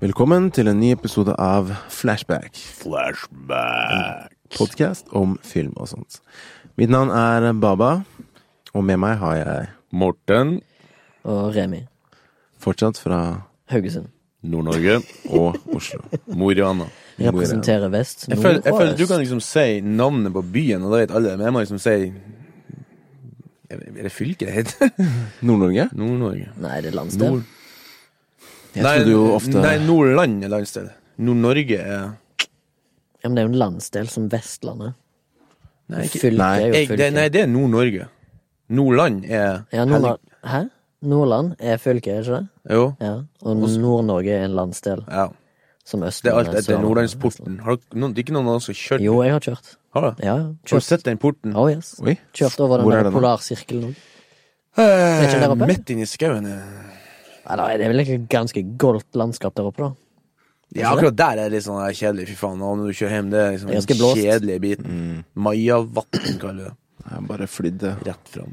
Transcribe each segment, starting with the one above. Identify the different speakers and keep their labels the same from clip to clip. Speaker 1: Velkommen til en ny episode av Flashback.
Speaker 2: Flashback.
Speaker 1: Podkast om film og sånt. Mitt navn er Baba, og med meg har jeg
Speaker 2: Morten,
Speaker 3: og Remi
Speaker 1: fortsatt fra
Speaker 3: Haugesund.
Speaker 2: Nord-Norge.
Speaker 1: og Oslo.
Speaker 2: Mo i Rana.
Speaker 3: Representerer vest,
Speaker 2: Jeg
Speaker 3: nord
Speaker 2: føler, jeg
Speaker 3: og
Speaker 2: føler du
Speaker 3: øst.
Speaker 2: kan liksom si navnet på byen, og det vet alle, men jeg må liksom si Jeg vet- Er det fylket det heter?
Speaker 1: Nord-Norge?
Speaker 2: Nord-Norge.
Speaker 3: Nei, det er landsdel.
Speaker 2: Nord...
Speaker 1: Jeg trodde jo ofte
Speaker 2: Nei, Nordland er landsdel. Nord-Norge er
Speaker 3: Ja, men det er jo en landsdel som Vestlandet.
Speaker 2: Nei, ikke,
Speaker 3: Fylket
Speaker 1: Nei,
Speaker 3: er jo
Speaker 2: jeg, det, nei
Speaker 3: fylket.
Speaker 2: det er Nord-Norge. Nordland er
Speaker 3: Ja, Nordland Hæ? Nordland er fylket, er ikke det?
Speaker 2: Jo.
Speaker 3: Ja. Og Nord-Norge er en landsdel,
Speaker 2: Ja.
Speaker 3: som
Speaker 2: Det er alt
Speaker 3: Østlandet.
Speaker 2: etter
Speaker 3: Sørlandet, Vestlandet.
Speaker 2: Nordlandsporten. Har dere noen, det er ikke noen av dere som har kjørt
Speaker 3: Jo, jeg har kjørt.
Speaker 2: Har det?
Speaker 3: Ja, ja.
Speaker 2: Har du
Speaker 3: Kjørt.
Speaker 2: sett den porten?
Speaker 3: Oh, yes.
Speaker 1: Oi.
Speaker 3: Kjørt over den
Speaker 1: Hvor er
Speaker 3: der
Speaker 1: den da?
Speaker 3: polarsirkelen nå. ikke der
Speaker 2: Eh,
Speaker 3: oppe?
Speaker 2: midt inni skauen. ja.
Speaker 3: Nei, da, det er vel egentlig ganske goldt landskap der oppe, da.
Speaker 2: Ja, akkurat der er det litt sånn der kjedelig, fy faen. Og når du kjører hjem, det er liksom
Speaker 3: Det er ganske
Speaker 2: den
Speaker 3: blåst. Mm.
Speaker 2: kjedelige biten. Majavatn kaller vi det.
Speaker 1: Jeg bare flydde.
Speaker 2: Rett fram.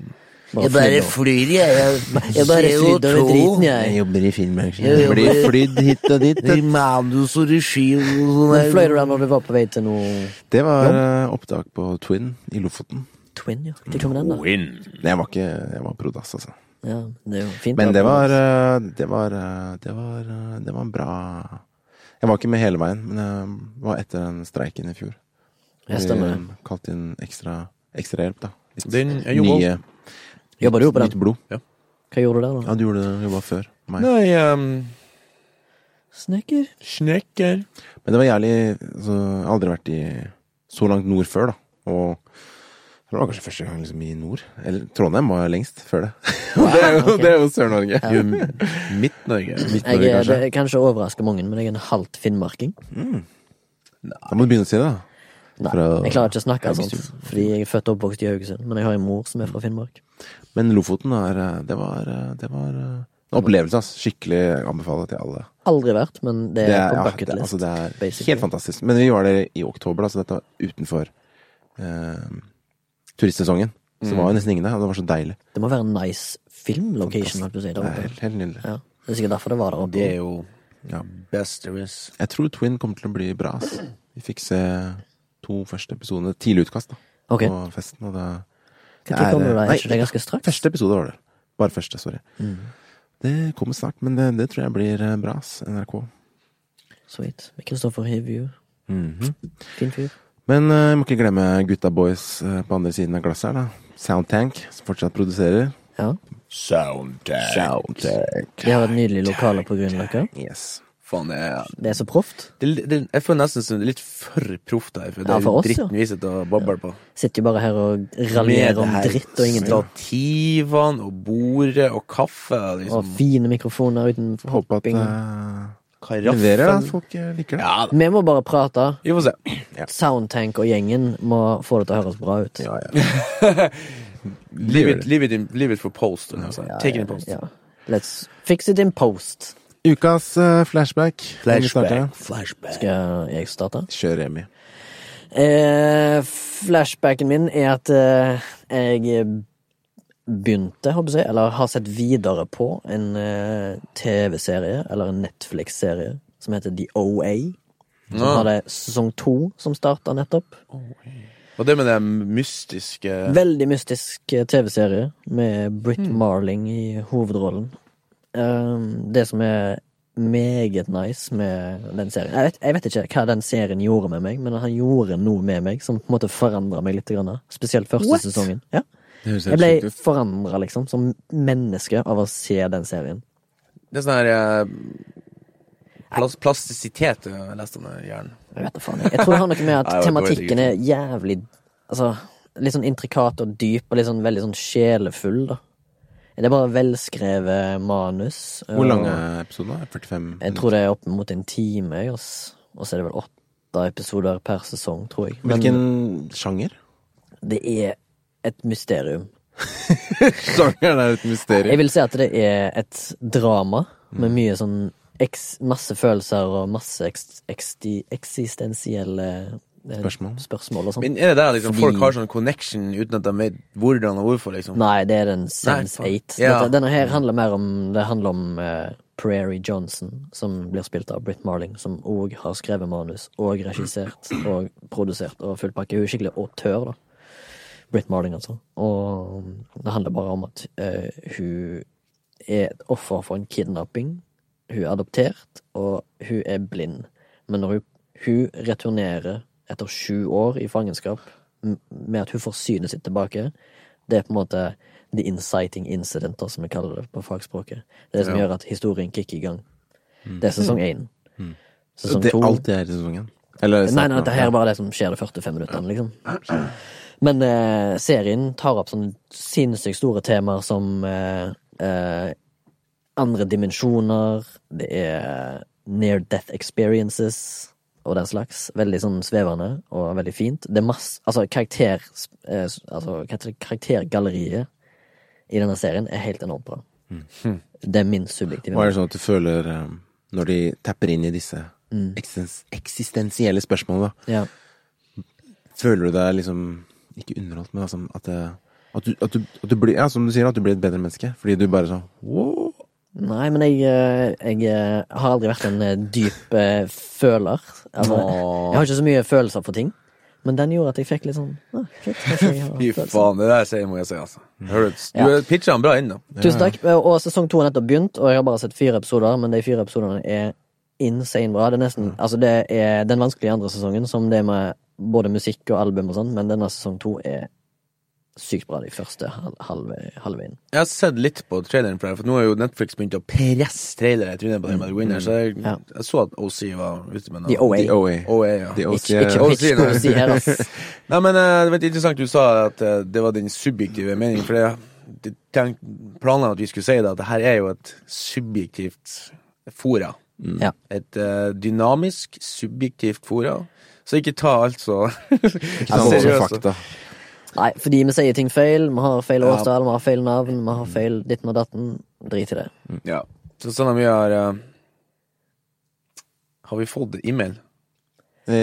Speaker 3: Bare flyr nå.
Speaker 4: flyr, jeg.
Speaker 3: Jeg bare flyr over driten, jeg.
Speaker 1: jobber i filmbransjen.
Speaker 4: Jeg
Speaker 1: Blir
Speaker 4: jobber-
Speaker 1: flydd hit og dit.
Speaker 4: I manus og regi og sånn
Speaker 3: Men fløy
Speaker 4: der.
Speaker 3: du der når du var på vei til noe
Speaker 1: Det var eh, opptak på Twin i Lofoten.
Speaker 3: Twin, ja? Hva kom den, da?
Speaker 1: Nei, jeg var ikke Jeg var prodass, altså.
Speaker 3: Ja, det er jo fint.
Speaker 1: Men
Speaker 3: da.
Speaker 1: det var eh, Det var eh, Det var, eh, det var en bra Jeg var ikke med hele veien, men jeg var etter den streiken i fjor.
Speaker 3: Jeg stemmer det.
Speaker 1: Vi kalte inn ekstra, ekstra hjelp, da. Litt
Speaker 2: Den- jeg jobba
Speaker 1: nye,
Speaker 3: Jobber du på
Speaker 1: nytt
Speaker 3: den?
Speaker 1: blod.
Speaker 3: Hva gjorde du der, da?
Speaker 1: Ja, du gjorde det jobba før meg.
Speaker 2: Nei, ehm,
Speaker 3: Snekker.
Speaker 2: snekker
Speaker 1: Men det var jævlig altså, Jeg har aldri vært i så langt nord før, da. Og det var kanskje første gang liksom, i nord. Eller Trondheim var lengst før det. Og det er jo,
Speaker 3: Ah, ok.
Speaker 1: det er jo Sør-Norge.
Speaker 2: Jo, Midt-Norge.
Speaker 3: Jeg
Speaker 1: Midt-Norge,
Speaker 3: er, det
Speaker 1: kanskje.
Speaker 3: er kanskje overrasker mange, men jeg er en halvt finnmarking.
Speaker 1: Da må du begynne å si det, da.
Speaker 3: Nei,
Speaker 1: Fra-
Speaker 3: jeg klarer ikke å snakke sånt,
Speaker 1: Haugesund.
Speaker 3: fordi jeg er født og oppvokst i Haugesund, men jeg har en mor som er fra Finnmark.
Speaker 1: Men Lofoten er eh, Det var, eh, det var eh, en opplevelse, ass. Skikkelig anbefaler til alle.
Speaker 3: Aldri vært, men det er, på
Speaker 1: ja,
Speaker 3: bucket
Speaker 1: det,
Speaker 3: list.
Speaker 1: altså, det er
Speaker 3: basically.
Speaker 1: helt fantastisk. Men vi var der i oktober, da, så dette var utenfor eh, turistsesongen. Så
Speaker 3: Mm.
Speaker 1: det var jo nesten ingen der, og det var så deilig.
Speaker 3: det må være en nice filmlocation, holdt på å si.
Speaker 1: Det
Speaker 3: Der
Speaker 1: er
Speaker 3: oppe.
Speaker 1: helt, helt nydelig.
Speaker 3: Ja. Det er sikkert derfor det var der
Speaker 2: Det
Speaker 3: oppe.
Speaker 2: er jo
Speaker 1: Ja.
Speaker 2: best there is.
Speaker 1: Jeg tror Twin kommer til å bli bra. Ass. Vi fikk se to første episoder, tidlig utkast, da,
Speaker 3: Ok,
Speaker 1: på festen. Og det, det
Speaker 3: Når kommer
Speaker 1: eh,
Speaker 3: du deg?
Speaker 1: nei,
Speaker 3: Ikke det er ganske Mm. straks?
Speaker 1: Første episode var det. Bare første, sorry. Det kommer snart, men det, det tror jeg blir eh, bra, ass. NRK.
Speaker 3: Sweet. Kristoffer Hivju.
Speaker 1: Mhm.
Speaker 3: Fin fyr.
Speaker 1: Men eh, jeg må ikke glemme gutta boys eh, på andre siden av glasset her, da. Soundtank, som fortsatt produserer.
Speaker 3: Ja.
Speaker 2: Soundtag.
Speaker 1: Soundtank.
Speaker 3: De har et nydelig lokale på Grünerløkka.
Speaker 1: Yes.
Speaker 2: Faen, det er
Speaker 3: Det er så proft.
Speaker 2: det, det, Jeg føler nesten som det er litt for proft her, for det
Speaker 3: Ja,
Speaker 2: er
Speaker 3: for
Speaker 2: jo
Speaker 3: oss, ja.
Speaker 2: dritten vi sitter og babler på.
Speaker 3: Sitter jo bare her og
Speaker 2: Med
Speaker 3: raljerer
Speaker 2: det
Speaker 3: om
Speaker 2: her
Speaker 3: sånn dritt og ingenting.
Speaker 2: Stativene og bordet og kaffe,
Speaker 3: Og
Speaker 2: liksom.
Speaker 3: fine mikrofoner uten
Speaker 1: Håper at
Speaker 3: hopping.
Speaker 1: uh,
Speaker 2: Karaffen.
Speaker 1: leverer, da. at Folk eh, liker det.
Speaker 2: Ja da.
Speaker 3: Vi må bare prate.
Speaker 2: Vi får se.
Speaker 3: Soundtank og gjengen må få det til å høres bra ut.
Speaker 1: Ja, ja.
Speaker 2: Leave it, leave it, in, leave it for post. eller noe sånt. Take it in post.
Speaker 3: Ja. Let's fix it in post.
Speaker 1: Ukas eh, flashback. Kan vi starte?
Speaker 2: Flashback.
Speaker 3: Skal jeg starte?
Speaker 1: Kjør Remi.
Speaker 3: Eh, flashbacken min er at eh, jeg begynte, håper jeg, eller har sett videre på en eh, TV-serie, eller en Netflix-serie, som heter The OA. Som
Speaker 2: Ah.
Speaker 3: hadde sesong to, som starta nettopp.
Speaker 2: Og det med det mystiske
Speaker 3: Veldig mystisk eh, TV-serie med Britt Marling i hovedrollen. Ehm, det som er meget nice med den serien jeg vet, jeg vet ikke hva den serien gjorde med meg, men han gjorde noe med meg som på en måte forandra meg litt. Grann, spesielt første sesongen. Ja. Jeg ble forandra, liksom, som menneske av å se den serien.
Speaker 2: Det er sånn her eh, plas plastisitet eh, jeg leste om det i hjernen.
Speaker 3: Jeg vet da faen. Jeg Jeg tror det har noe med
Speaker 2: Nei, jeg
Speaker 3: at
Speaker 2: vet- jeg vet
Speaker 3: tematikken er jævlig Altså, litt sånn intrikat og dyp, og litt sånn veldig sånn sjelefull, da. Det er bare velskrevet manus.
Speaker 1: Hvor
Speaker 3: og-
Speaker 1: lang er episoden? da? 45?
Speaker 3: Jeg tror det er opp mot en time, jeg, ass. Og så er det vel åtte episoder per sesong, tror jeg. Men
Speaker 1: Hvilken sjanger?
Speaker 3: det er et mysterium.
Speaker 1: Sjangeren er et
Speaker 3: Jeg
Speaker 1: mysterium.
Speaker 3: vil si at det er et drama
Speaker 1: Mm.
Speaker 3: med mye sånn eks, masse følelser og masse eks, eksti, eksistensielle Det er
Speaker 1: Spørsmål.
Speaker 3: spørsmål og sånn.
Speaker 2: Men er det der liksom
Speaker 3: Fordi-
Speaker 2: folk har sånn connection uten at de vet hvordan og hvorfor, liksom?
Speaker 3: Nei, det er den Sense
Speaker 2: faen.
Speaker 3: 8.
Speaker 2: Ja.
Speaker 3: Dette, denne her handler mer om Det handler om eh, Prairie Johnson, som blir spilt av Britt Marling, som òg har skrevet manus, og regissert, og produsert og full pakke. Hun er skikkelig autør, da. Britt Marling, altså. Og det handler bare om at eh, hun er et offer for en kidnapping. Hun er adoptert, og hun er blind. Men når hun, hun returnerer etter sju år i fangenskap m- med at hun får synet sitt tilbake, det er på en måte the inciting incident, da, som vi kaller det på fagspråket. Det er det som gjør at historien kicker i gang. Det er sesong én. Sesong
Speaker 1: Mm. Det
Speaker 3: sånn to
Speaker 1: er alt det er i sesongen. Eller
Speaker 3: Nei, nei, det her er bare det som skjer de første fem minuttene, liksom. Men eh, serien tar opp sånne sinnssykt store temaer som eh, eh, andre dimensjoner, det er near death experiences og den slags. Veldig sånn svevende og veldig fint. Det er masse Altså, karakter... Eh, s- altså, hva heter det? Karaktergalleriet i denne serien er helt enormt bra. Det er min subjektive
Speaker 1: Og er det sånn at du føler eh, Når de tapper inn i disse
Speaker 3: Mm.
Speaker 1: eksistens, eksistensielle spørsmålene, da,
Speaker 3: Ja.
Speaker 1: føler du deg liksom Ikke underholdt, men altså at det at du, at, du, at du blir Ja, som du sier, at du blir et bedre menneske. Fordi du bare sånn wow.
Speaker 3: Nei, men jeg, eh, jeg eh, har aldri vært en eh, dyp eh, føler. Altså,
Speaker 2: Åh.
Speaker 3: jeg har ikke så mye følelser for ting, men den gjorde at jeg fikk litt sånn ah, shit, kanskje jeg har
Speaker 2: Fy
Speaker 3: følelser.
Speaker 2: faen, det der sier må jeg si, altså. Hører du? Du
Speaker 3: Ja.
Speaker 2: pitcha han bra inn, da.
Speaker 3: Tusen takk. Eh, Og sesong to har nettopp begynt, og jeg har bare sett fire episoder, men de fire episodene er insane bra. Det er
Speaker 2: Mm.
Speaker 3: nesten, altså det er den vanskelige andre sesongen, som det med både musikk og album og sånn, men denne sesong to er sykt bra de første hal- halve, halve inn.
Speaker 2: Jeg har sett litt på traileren for det, for nå har jo Netflix begynt å presse trailere i trynet på dem. med Winner, så jeg,
Speaker 3: Mm. Ja.
Speaker 2: jeg så at OC var ute med den.
Speaker 3: The OA.
Speaker 1: The OA.
Speaker 2: OA, ja.
Speaker 1: The OC,
Speaker 3: Ikke, ikke
Speaker 1: eh,
Speaker 2: Å,
Speaker 3: pitch
Speaker 2: si det.
Speaker 3: på å si her, ass.
Speaker 2: Nei, men eh, det var litt interessant du sa at eh, det var din subjektive mening, for jeg jeg tenk- planla at vi skulle si det, at det her er jo et subjektivt fora.
Speaker 3: Ja.
Speaker 2: Et eh, dynamisk, subjektivt fora. Så ikke ta alt så
Speaker 1: Ikke sant, altså,
Speaker 2: seriøst.
Speaker 1: fakta.
Speaker 3: Nei, fordi vi sier ting feil. Vi har feil
Speaker 2: Ja.
Speaker 3: årstall, vi har feil navn, vi har feil ditten og datten. Drit i det.
Speaker 2: Ja. Så sånn at vi har eh, Har vi fått e-mail?
Speaker 1: Eh,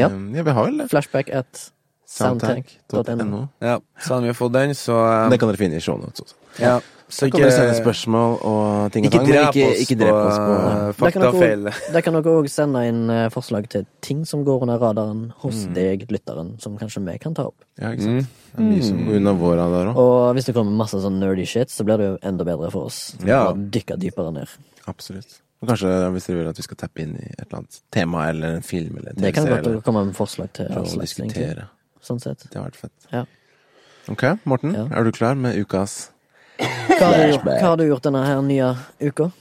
Speaker 3: Ja.
Speaker 1: ja. vi har vel det.
Speaker 3: Flashback at soundtank.no.
Speaker 1: Soundtank.no.
Speaker 2: Ja, sånn at vi har fått den, så eh,
Speaker 1: Det kan dere finne i shownotes også.
Speaker 2: ja.
Speaker 1: Så
Speaker 2: Så
Speaker 1: kan dere sende spørsmål og ting og
Speaker 2: ikke
Speaker 1: tang, men
Speaker 2: drep
Speaker 1: ikke,
Speaker 2: oss
Speaker 1: ikke drep
Speaker 2: på,
Speaker 1: oss på
Speaker 2: eh,
Speaker 3: Der kan dere
Speaker 2: faktafeil.
Speaker 3: også- Der kan dere òg sende inn eh, forslag til ting som går under radaren hos
Speaker 2: Mm.
Speaker 3: deg, lytteren, som kanskje vi kan ta opp.
Speaker 1: Ja, ikke sant. Det er mye som går unna våra der òg.
Speaker 3: Og hvis det kommer masse sånn nerdy shit, så blir det jo enda bedre for oss.
Speaker 2: Ja.
Speaker 3: Og dykke dypere ned.
Speaker 1: Absolutt. Og kanskje hvis dere vil at vi skal tappe inn i et eller annet tema eller en film eller en
Speaker 3: Det kan
Speaker 1: TV-serie,
Speaker 3: godt
Speaker 1: eller-
Speaker 3: dere komme med forslag til.
Speaker 1: og
Speaker 3: all slags, egentlig.
Speaker 1: diskutere.
Speaker 3: Sånn sett.
Speaker 1: Det har vært fett.
Speaker 3: Ja.
Speaker 1: Ok, Morten,
Speaker 3: Ja.
Speaker 1: er du klar med ukas
Speaker 3: Hva har, du, gjort- hva har du gjort denne her nye uka?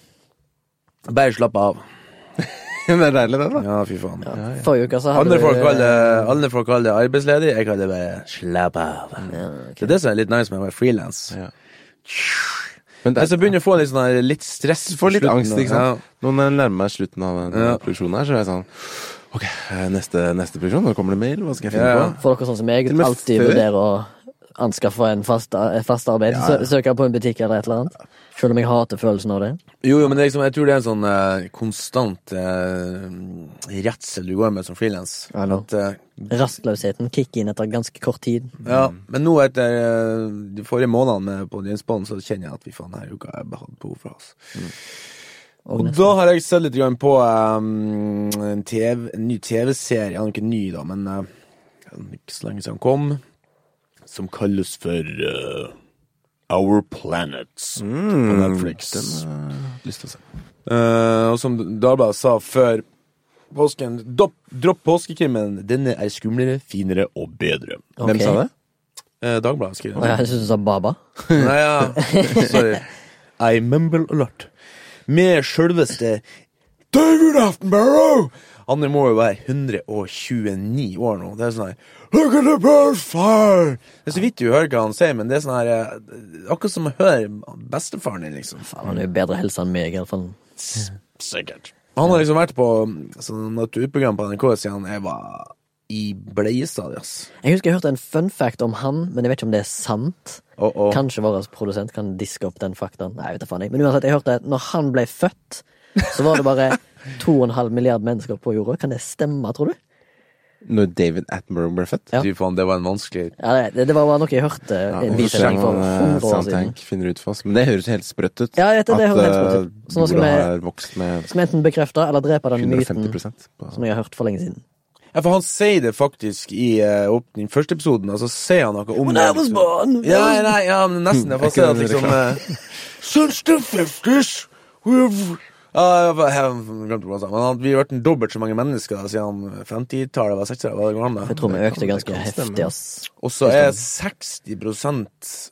Speaker 2: Bare slapp av.
Speaker 1: Det er deilig, det, da.
Speaker 2: Ja, fy faen.
Speaker 3: Forrige uke så hadde
Speaker 2: Andre
Speaker 3: du
Speaker 2: folk kaller det- andre folk kaller det arbeidsledig, jeg kaller det bare slapp av. Det er det som er litt nice med å være frilans.
Speaker 1: Ja. Men det
Speaker 2: Jeg så
Speaker 1: er,
Speaker 2: begynner å få litt, sånn her, litt stress.
Speaker 1: Altså, du får litt
Speaker 2: på slutten,
Speaker 1: angst, ikke
Speaker 2: og-
Speaker 1: sant. Nå når jeg nærmer meg slutten av denne
Speaker 2: Ja.
Speaker 1: produksjonen her, så er jeg sånn Ok, neste, neste produksjon, nå kommer det mail, hva skal jeg finne
Speaker 2: Ja, ja.
Speaker 1: på?
Speaker 3: For dere sånn som meg
Speaker 1: Til og med
Speaker 3: alltid
Speaker 1: før.
Speaker 3: vurderer å anskaffe en fast, et fast arbeid.
Speaker 1: Ja, ja.
Speaker 3: sø- Søke på en butikk eller et eller annet. Selv om jeg hater følelsen av det.
Speaker 2: Jo, jo, men det er liksom, jeg tror det er en sånn eh, konstant eh, redsel du går med som frilans.
Speaker 3: I know.
Speaker 2: At, eh,
Speaker 3: Rastløsheten kicker inn etter ganske kort tid.
Speaker 2: ja,
Speaker 1: Mm.
Speaker 2: men nå etter eh, de forrige månedene med på James Bond, så kjenner jeg at vi faen, her uka har jeg hatt behov for oss.
Speaker 1: Mm.
Speaker 3: Og
Speaker 2: Og
Speaker 3: nesten-
Speaker 2: da har jeg sett litt grann på eh, en, TV, en ny TV-serie, han er ikke ny da, men eh, ikke så lenge siden han kom, som kalles for eh, Our Planets på Netflix.
Speaker 1: Mm. Lyst til å se.
Speaker 2: Eh, og som Dagbladet sa før påsken, dopp, dropp påskekrimmen, denne er skumlere, finere og bedre.
Speaker 1: Hvem
Speaker 3: Ok.
Speaker 1: sa det?
Speaker 2: Eh, Dagbladet
Speaker 3: Å,
Speaker 2: skriver det.
Speaker 3: Jeg synes du sa Baba.
Speaker 2: Nei, ja, sorry. I mumble a lot. Med sjølveste David Attenborough! Han må jo være 129 år nå. Det er sånn her Look at the birds fly! Det er så vidt du hører hva han sier, men det er sånn her eh, Akkurat som å høre bestefaren din, liksom.
Speaker 3: Faen, han er jo bedre helse enn meg, i alle fall.
Speaker 2: Sikkert. Han har liksom vært på sånn naturprogram på NRK siden jeg var i bleiestadiet, ass.
Speaker 3: Jeg husker jeg hørte en fun fact om han, men jeg vet ikke om det er sant.
Speaker 2: Å, å.
Speaker 3: Kanskje vår produsent kan diske opp den faktaen. Nei, jeg vet da faen jeg. Men uansett, jeg hørte at når han ble født, så var det bare 2,5 milliard mennesker på jorda. Kan det stemme, tror du?
Speaker 1: Når David Attenborough ble født?
Speaker 3: Ja.
Speaker 2: Fy faen, det var en vanskelig
Speaker 3: Ja, det- det, det var bare noe jeg hørte en
Speaker 1: hvorfor
Speaker 3: bisetning for
Speaker 1: trenger man, eh,
Speaker 3: 100 år siden.
Speaker 1: Soundtank finner ut for oss. Men det høres jo helt sprøtt ut.
Speaker 3: Ja, jeg vet det, det høres helt
Speaker 1: eh,
Speaker 3: sprøtt ut. Så nå skal
Speaker 1: jorda
Speaker 3: vi-
Speaker 1: har vokst med
Speaker 3: Som enten bekrefter eller dreper den myten
Speaker 1: 150 på-
Speaker 3: som jeg har hørt for lenge siden.
Speaker 2: Ja, for han sier det faktisk i eh, åpning, første episoden, altså sier han noe om
Speaker 3: When
Speaker 2: det.
Speaker 3: I was
Speaker 2: liksom.
Speaker 3: born,
Speaker 2: Ja, nei, ja, men nesten. Jeg
Speaker 1: Er
Speaker 2: får
Speaker 1: ikke
Speaker 2: se at
Speaker 1: det
Speaker 2: liksom eh, Since the 50s we've Ja, jeg bare- jeg glemte hva han sa, men han- vi har vært en dobbelt så mange mennesker da, siden 50-tallet var 60-tallet. hva det går an med.
Speaker 3: Jeg tror vi økte
Speaker 1: kan- det
Speaker 3: ganske
Speaker 1: kan stemme.
Speaker 3: heftig, ass.
Speaker 2: Og så er 60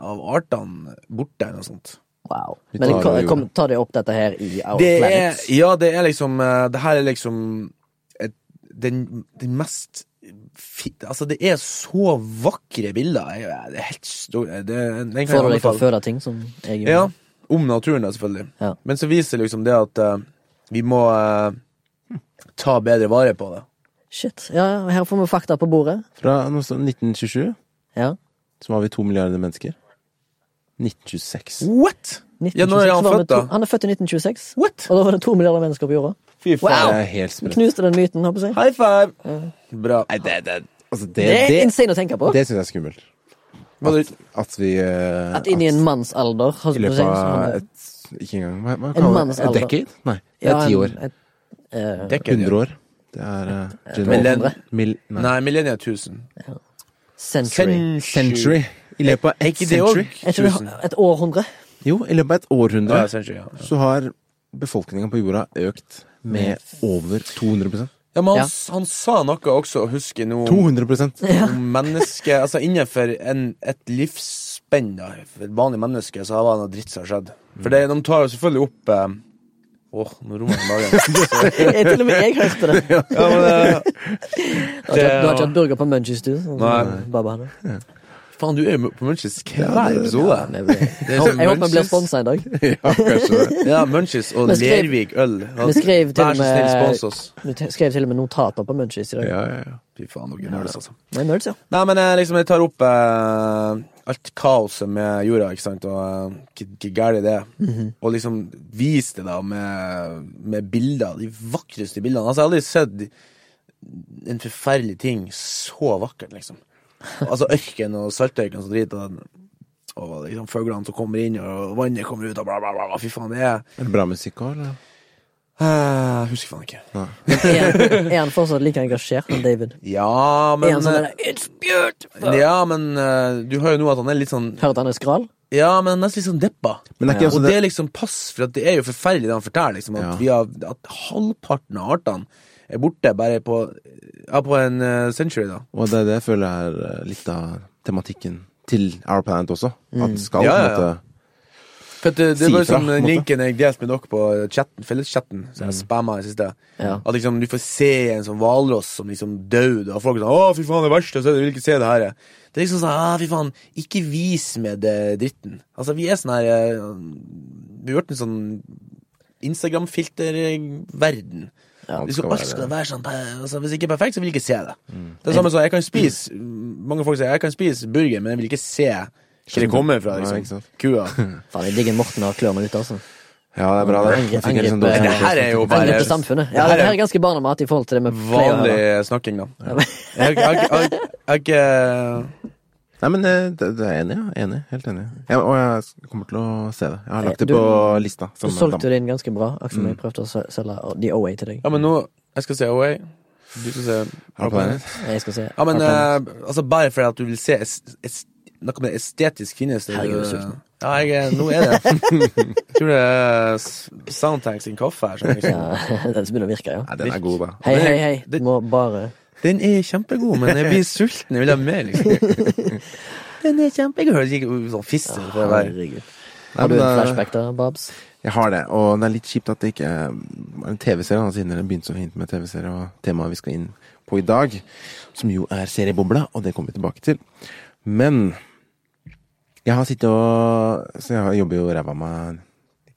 Speaker 2: av artene borte, eller noe sånt.
Speaker 3: Wow.
Speaker 1: Vi
Speaker 3: Men
Speaker 1: tar
Speaker 3: kom,
Speaker 1: det jo.
Speaker 3: kom, ta det opp dette her i Our
Speaker 2: Det er,
Speaker 3: Planet.
Speaker 2: ja, det er liksom eh, Det her er liksom et, den, den mest fi, Altså, det er så vakre bilder. Jeg, jeg- det er helt stor, det, den kan
Speaker 3: Får du
Speaker 2: jeg
Speaker 3: deg
Speaker 2: anbefale.
Speaker 3: forføde ting som jeg gjorde?
Speaker 2: Ja, om naturen da, selvfølgelig.
Speaker 3: Ja.
Speaker 2: Men så viser liksom det at eh, vi må eh, ta bedre vare på det.
Speaker 3: Shit. Ja, ja, her får vi fakta på bordet.
Speaker 1: Fra noe sånn 1927
Speaker 3: Ja.
Speaker 1: så var vi to milliarder mennesker. 1926.
Speaker 2: What?! Ja, når er
Speaker 3: 1926
Speaker 2: han
Speaker 3: var vi
Speaker 2: født,
Speaker 3: to- Ah,
Speaker 2: da?
Speaker 3: Han er født i 1926.
Speaker 2: What?!
Speaker 3: Og da var det to milliarder mennesker på jorda.
Speaker 2: Fy
Speaker 3: Wow.
Speaker 1: Det er helt sprøtt.
Speaker 3: Knuste den myten, håper jeg.
Speaker 2: High five! Bra.
Speaker 1: Nei, det, det, altså, det,
Speaker 3: Det er
Speaker 1: det,
Speaker 3: insane å tenke på.
Speaker 1: det syns jeg er skummelt.
Speaker 2: Var det-
Speaker 1: At vi eh,
Speaker 3: At inn i en manns alder har-
Speaker 1: I løpet av et Ikke engang hva, hva kaller man
Speaker 3: manns
Speaker 1: det? Et
Speaker 3: alder.
Speaker 1: decade? Nei, det
Speaker 3: Ja,
Speaker 1: er ti
Speaker 3: en-
Speaker 1: år.
Speaker 3: et- eh,
Speaker 2: Dekker det.
Speaker 1: 100 år. Det er uh,
Speaker 2: Millenn-
Speaker 1: Mil nei.
Speaker 2: Nei, Millennia 1000.
Speaker 3: century.
Speaker 1: Century. I løpet av
Speaker 2: Er
Speaker 1: et
Speaker 2: ikke det òg?
Speaker 1: century.
Speaker 3: Jeg tror det
Speaker 2: 1000.
Speaker 3: har- et århundre.
Speaker 1: Jo, i løpet av et århundre
Speaker 2: Ja, century, ja.
Speaker 1: så har befolkningen på jorda økt med over 200
Speaker 2: Ja, men han,
Speaker 3: Ja.
Speaker 2: s- han sa noe også, husker jeg nå, om,
Speaker 1: 200
Speaker 2: om mennesket Altså innenfor en, et livsspenn, da, for et vanlig menneske, så var det noe dritt som har skjedd. For det, de tar jo selvfølgelig opp eh, Åh, nå roer jeg magen.
Speaker 3: Jeg, til og med jeg hørte det. Du
Speaker 2: Ja, men, eh,
Speaker 3: har ikke, hatt- du har ikke hatt burger på Munchies, du? Sånn,
Speaker 2: Nei.
Speaker 3: som Baba hadde.
Speaker 2: faen, du er jo på Munchies hver episode.
Speaker 3: Ja, det blir-
Speaker 2: er sånn
Speaker 3: Jeg håper vi blir
Speaker 2: Munchies.
Speaker 3: sponsa i dag.
Speaker 1: Ja, kanskje det.
Speaker 2: Ja, Munchies og
Speaker 3: Men skrev-
Speaker 2: Lervik øl. Ja,
Speaker 3: Vi skrev til
Speaker 2: Vær
Speaker 3: og
Speaker 2: så snill,
Speaker 3: med
Speaker 2: spons oss.
Speaker 3: Vi te- skrev til og med notater på Munchies i dag.
Speaker 1: Ja, ja, ja.
Speaker 2: Fy faen, dere nerds, altså.
Speaker 3: Nei, nerds, ja.
Speaker 2: Nei, men eh, liksom, jeg tar opp eh, alt kaoset med jorda, ikke sant, og eh, hvor hvor gærent det er.
Speaker 3: Mhm.
Speaker 2: Og liksom vise det da med, med bilder, de vakreste bildene. Altså, jeg har aldri sett en forferdelig ting så vakkert, liksom. Altså ørken og saltørken som driter og og liksom fuglene som kommer inn, og vannet kommer ut, og bla, bra, bla. bla. Fy faen, det er
Speaker 1: Er det bra musikk òg, eller?
Speaker 2: Eh, Husker faen ikke.
Speaker 3: Er han- er han fortsatt like engasjert som David?
Speaker 2: Ja, men
Speaker 3: er han sånn
Speaker 2: eh,
Speaker 3: der, It's beautiful!
Speaker 2: Ja, men eh, du hører jo nå at han er litt sånn
Speaker 3: Hører at han er skral?
Speaker 2: Ja, men han er nesten litt sånn deppa.
Speaker 1: Men det er ikke også
Speaker 2: og
Speaker 1: det-
Speaker 2: det er liksom pass, for at det er jo forferdelig det han forteller, liksom, at,
Speaker 1: Ja.
Speaker 2: vi har, at halvparten av artene er borte bare på Ja, på en eh, century, da.
Speaker 1: Og det er det jeg føler er eh, litt av tematikken til Our Planet også. At det skal
Speaker 2: Mm. Ja,
Speaker 1: på
Speaker 2: ja,
Speaker 1: en måte
Speaker 2: For at det, det
Speaker 1: Si fra,
Speaker 2: var
Speaker 1: på en
Speaker 2: liksom den
Speaker 1: måte. Mm.
Speaker 2: linken jeg delte med dere på chatten, felleschatten, som jeg spamma i det siste.
Speaker 3: Ja.
Speaker 2: At liksom du får se en sånn hvalross som liksom døde, og folk er sånn 'Å, fy faen, det er verste', og så vil ikke se det her. Det er liksom sånn 'Å, fy faen, ikke vis med det dritten'. Altså, vi er sånn her eh, Vi har vært en sånn Instagram-filterverden.
Speaker 1: Ja,
Speaker 2: Hvis
Speaker 1: det Mm. skal
Speaker 2: alt
Speaker 1: være-
Speaker 2: skal være sånn per- altså, Hvis ikke perfekt, så vil jeg ikke se det. Det er samme som jeg kan spise Mange folk sier 'jeg kan spise burger', men jeg vil ikke se hvor det kommer fra,
Speaker 1: Nei, ikke
Speaker 2: liksom.
Speaker 1: sant.
Speaker 2: Kua.
Speaker 3: Faen, jeg digger Morten har klørne ute, altså.
Speaker 1: Ja, det er bra, det. Jeg fikk helt sånn dårlig
Speaker 3: Angrep-
Speaker 2: Det her er jo
Speaker 3: Han
Speaker 2: bare
Speaker 3: løper samfunnet. Ja,
Speaker 2: det her
Speaker 3: det her
Speaker 2: er
Speaker 3: er ganske barnemat i forhold til det med
Speaker 2: vanlig snakking, da. Jeg har ikke eh,
Speaker 1: Nei, men eh, det, det er enig, ja. Enig. Helt enig. Jeg, og jeg kommer til å se det. Jeg har lagt det
Speaker 3: Du-
Speaker 1: på lista.
Speaker 3: Du
Speaker 1: som
Speaker 3: solgte
Speaker 1: dam.
Speaker 3: det inn ganske bra, akkurat som jeg prøvde å se- selge The OA til deg.
Speaker 2: Mm. Ja, men nå Jeg skal se Away. Du skal se
Speaker 1: Our Planet.
Speaker 3: Jeg skal se.
Speaker 2: Ja, men eh, altså bare fordi at du vil se est- est- noe med estetisk finnes det
Speaker 3: Herregud,
Speaker 2: du-
Speaker 3: jeg er sulten.
Speaker 2: Ja, jeg er Nå er det Jeg tror det er S- Soundtank sin kaffe her. som jeg-
Speaker 3: Ja, den som begynner å virke, ja.
Speaker 1: Nei, den er god, da.
Speaker 3: Hei,
Speaker 2: eh, Det-
Speaker 3: hei, hei. Du
Speaker 2: det-
Speaker 3: må bare
Speaker 2: Den er kjempegod, men jeg blir sulten. Jeg vil ha mer, liksom. Den er kjempegod. Høres ikke ut som fisk. for å være-
Speaker 3: Herregud.
Speaker 1: Nei,
Speaker 3: Har du
Speaker 1: men,
Speaker 3: en
Speaker 1: eh,
Speaker 3: flashback der, Babs?
Speaker 1: Jeg har det, og det er litt kjipt at det ikke er en TV-serie, da, siden dere begynte så fint med TV-serie og temaet vi skal inn på i dag, som jo er seriebobla, og det kommer vi tilbake til. Men jeg har sittet og Så jeg jobber jo ræva av meg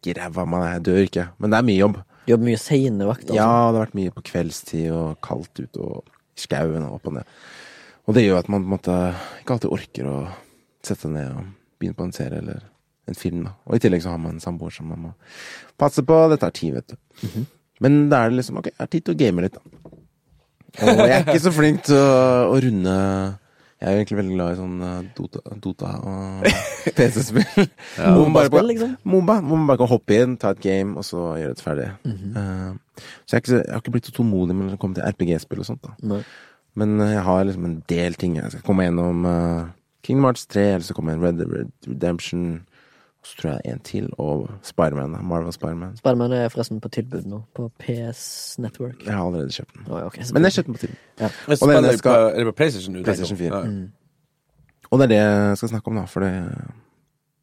Speaker 1: Ikke ræva av meg, jeg dør ikke, men det er mye jobb.
Speaker 3: Du jobber mye sene vakter.
Speaker 1: Ja,
Speaker 3: altså.
Speaker 1: det har vært mye på kveldstid og kaldt ute og i skauen og opp og ned. Og det gjør at man på en måte ikke alltid orker å sette seg ned og begynne på en serie eller en film. da. Og i tillegg så har man en samboer som man må passe på. Dette er tid, vet du. Men da er det liksom ok, det er tid til å game litt, da. Og jeg er ikke så flink til å, å runde Jeg er jo egentlig veldig glad i sånn eh, Dota, Dota og PC-spill. Ja.
Speaker 3: Moba-spill, liksom.
Speaker 1: Moba. Hvor man bare kan hoppe inn, ta et game, og så gjøre det ferdig.
Speaker 3: Mhm.
Speaker 1: Eh, så jeg, er ikke, så- jeg har ikke blitt så tålmodig med å komme til RPG-spill og sånt. da
Speaker 3: Nei.
Speaker 1: Men eh, jeg har liksom en del ting. Jeg skal komme gjennom eh, Kingdom Hearts 3, eller så kommer jeg Red Dead Redemption. Og så tror jeg en til, og Spiderman. da. Marvel Spiderman.
Speaker 3: Spiderman er forresten på tilbud nå, på PS Network.
Speaker 1: Jeg har allerede kjøpt den.
Speaker 3: Å, ja, ok, så
Speaker 1: Men
Speaker 3: bra.
Speaker 1: jeg kjøpte den på tilbud.
Speaker 2: Men
Speaker 1: Og den
Speaker 2: spiller
Speaker 1: skal-
Speaker 2: på, er det på PlayStation? du tenker
Speaker 1: PlayStation
Speaker 2: på?
Speaker 1: 4.
Speaker 2: Ja.
Speaker 1: Og det er det jeg skal snakke om, da. For det,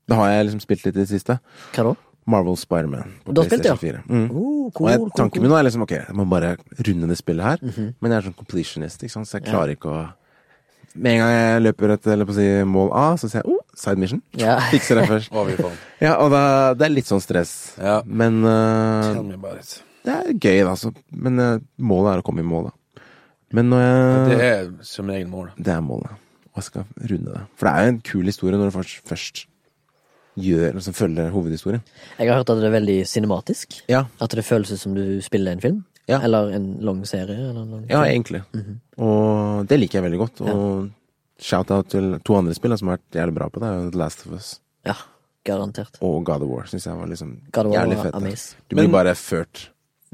Speaker 1: det har jeg liksom spilt litt i det siste.
Speaker 3: Hva da?
Speaker 1: Marvel Spiderman på
Speaker 3: Du har spilt det,
Speaker 1: PlayStation 4. Mm.
Speaker 3: Oh,
Speaker 1: og
Speaker 3: cool,
Speaker 1: jeg,
Speaker 3: cool,
Speaker 1: tanken
Speaker 3: cool. Mhm.
Speaker 1: min nå er liksom ok, jeg må bare runde det spillet her. Men jeg er sånn completionist, ikke sant? så jeg klarer ikke å Med en gang jeg løper et eller på å si, mål A, så sier jeg oh, side mission.
Speaker 3: Ja.
Speaker 1: Fikser det først.
Speaker 2: Å, fy faen.
Speaker 1: Ja, og da, det er litt sånn stress.
Speaker 2: Ja.
Speaker 1: Men eh,
Speaker 2: Tell me about it.
Speaker 1: det er gøy, da. Så, men eh, målet er å komme i mål, da. Men når jeg
Speaker 2: Det er som regel mål.
Speaker 1: Det er målet. Og jeg skal runde det. For det er jo en kul historie når du først, først gjør, liksom følger hovedhistorien.
Speaker 3: Jeg har hørt at det er veldig cinematisk.
Speaker 1: Ja,
Speaker 3: At det føles ut som du spiller en film.
Speaker 1: Ja.
Speaker 3: Eller en lang serie. Eller en lang
Speaker 1: ja egentlig.
Speaker 3: Mhm.
Speaker 1: Og det liker jeg veldig godt. Og shout-out til to andre spill da, som har vært jævlig bra på det. er jo The Last of Us
Speaker 3: Ja, garantert.
Speaker 1: og God of War. Syns jeg var liksom
Speaker 3: God of War
Speaker 1: jævlig
Speaker 3: var
Speaker 1: fett. da.
Speaker 3: amaze.
Speaker 1: Du blir
Speaker 2: Men-
Speaker 1: bare ført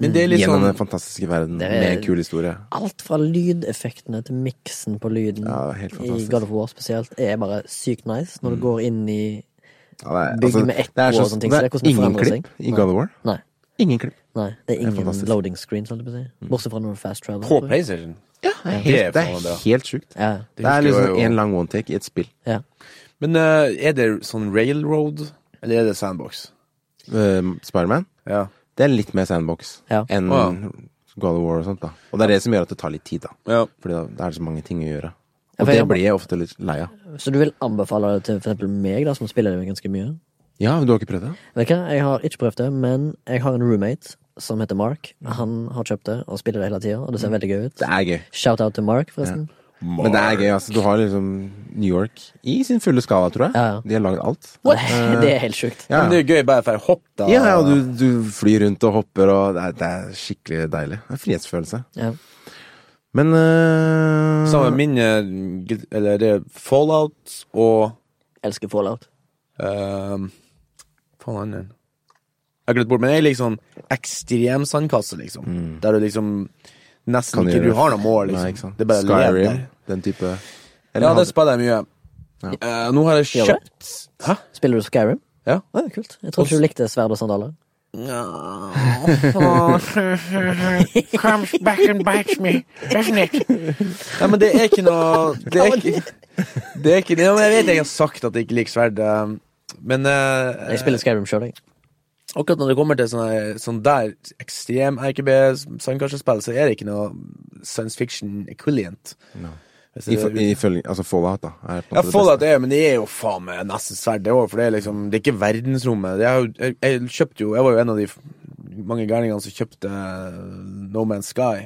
Speaker 2: Men det er
Speaker 1: mm.
Speaker 2: litt
Speaker 1: gjennom
Speaker 2: sånn
Speaker 1: den fantastiske verden
Speaker 3: Det er-
Speaker 1: med en kul historie.
Speaker 3: Alt fra lydeffektene til miksen på lyden
Speaker 1: Ja, det er helt
Speaker 3: i
Speaker 1: fantastisk. Mm.
Speaker 3: God of War spesielt, er bare sykt nice når du går inn i
Speaker 1: Ja, det er, altså,
Speaker 3: Bygge med ekko
Speaker 1: det er
Speaker 3: og sånne ting, så det er
Speaker 1: Det
Speaker 3: hvordan
Speaker 1: er
Speaker 3: det
Speaker 1: ingen
Speaker 3: forandrer
Speaker 1: klipp i God of War.
Speaker 3: Nei.
Speaker 1: Ingen klipp.
Speaker 3: Nei, det er Mm.
Speaker 1: er
Speaker 3: ingen
Speaker 1: fantastisk.
Speaker 3: loading screens, holdt jeg på å si. Bortsett fra når du fast travel.
Speaker 2: på
Speaker 3: tror jeg.
Speaker 2: PlayStation.
Speaker 1: Ja, det er
Speaker 2: Det er
Speaker 1: helt, det
Speaker 2: faen
Speaker 1: er
Speaker 2: bra.
Speaker 1: helt sjukt.
Speaker 3: Ja,
Speaker 1: Det er
Speaker 2: husker jeg
Speaker 1: liksom
Speaker 2: jo.
Speaker 1: en lang one-take i et spill.
Speaker 3: ja.
Speaker 2: Men eh, er det sånn railroad, eller er det sandbox?
Speaker 1: Uh, Spiderman.
Speaker 2: Ja.
Speaker 1: Det er litt mer sandbox
Speaker 3: Ja.
Speaker 1: enn
Speaker 2: Wow.
Speaker 1: God of War og sånt. da Og det er det som gjør at det tar litt tid, da.
Speaker 2: ja.
Speaker 1: Fordi da, det er så mange ting å gjøre. Og
Speaker 3: Ja, for
Speaker 1: det
Speaker 3: jeg-
Speaker 1: blir jeg ofte litt lei av.
Speaker 3: Så du vil anbefale det til for eksempel meg, da, som spiller det ganske mye?
Speaker 1: Ja, men du har ikke prøvd det?
Speaker 3: Vet du hva, jeg har ikke prøvd det, men jeg har en roommate som heter Mark. Han har kjøpt det og spiller det hele tida, og det ser veldig gøy ut.
Speaker 1: Det er gøy.
Speaker 3: Shout out til Mark, forresten.
Speaker 1: Men det er gøy, altså. Du har liksom New York i sin fulle skala, tror jeg.
Speaker 3: Ja, ja.
Speaker 1: De har lagd alt. Eh,
Speaker 3: What? Det er helt sjukt.
Speaker 1: Ja,
Speaker 2: Men det er jo gøy bare for å hoppe, da.
Speaker 1: ja, ja og du, du flyr rundt og hopper, og det er, det er skikkelig deilig. Det er en frihetsfølelse.
Speaker 3: Ja.
Speaker 1: Men øh,
Speaker 2: Sammen med min eh, gud- Eller det er Fallout og
Speaker 3: Elsker fallout.
Speaker 2: um, Faen, han er Jeg har glemt bort, men jeg er liksom ekstrem sandkasse, liksom. Der du liksom nesten
Speaker 1: Mm. Kan
Speaker 2: ikke
Speaker 1: gjøre-
Speaker 2: du har noe mål, liksom.
Speaker 1: Nei, ikke sant.
Speaker 2: Det er bare å leve
Speaker 1: Skyrim,
Speaker 2: der.
Speaker 1: den type Eller
Speaker 2: Ja,
Speaker 1: han-
Speaker 2: det spiller jeg mye. Eh, nå har jeg
Speaker 3: Gjør du?
Speaker 2: kjøpt Hæ?
Speaker 3: Spiller du Skyrim?
Speaker 2: Ja.
Speaker 3: Å, ja, kult. Jeg trodde ikke du likte sverd og sandaler.
Speaker 4: comes back and bites me, doesn't it?
Speaker 2: Nei, men det er ikke noe Det er ikke, det er ikke ja, men Jeg vet jeg har sagt at jeg ikke liker sverd, eh, men eh,
Speaker 3: Jeg spiller Skyrim sjøl, jeg.
Speaker 2: akkurat når det kommer til sånne, sånn der ekstrem RKB-sandkassespill, så er det ikke noe science fiction equivalent. Hvis
Speaker 1: I,
Speaker 2: det-
Speaker 1: i, ifølge- altså Fallout, da. Er på en
Speaker 2: ja,
Speaker 1: måte det
Speaker 2: Fallout
Speaker 1: beste.
Speaker 2: er, men det er jo faen meg nesten svært, det òg, for det er liksom Det er ikke verdensrommet. Det er jo, jeg, jeg kjøpte jo Jeg var jo en av de f- mange gærningene som kjøpte uh, No Man's Sky.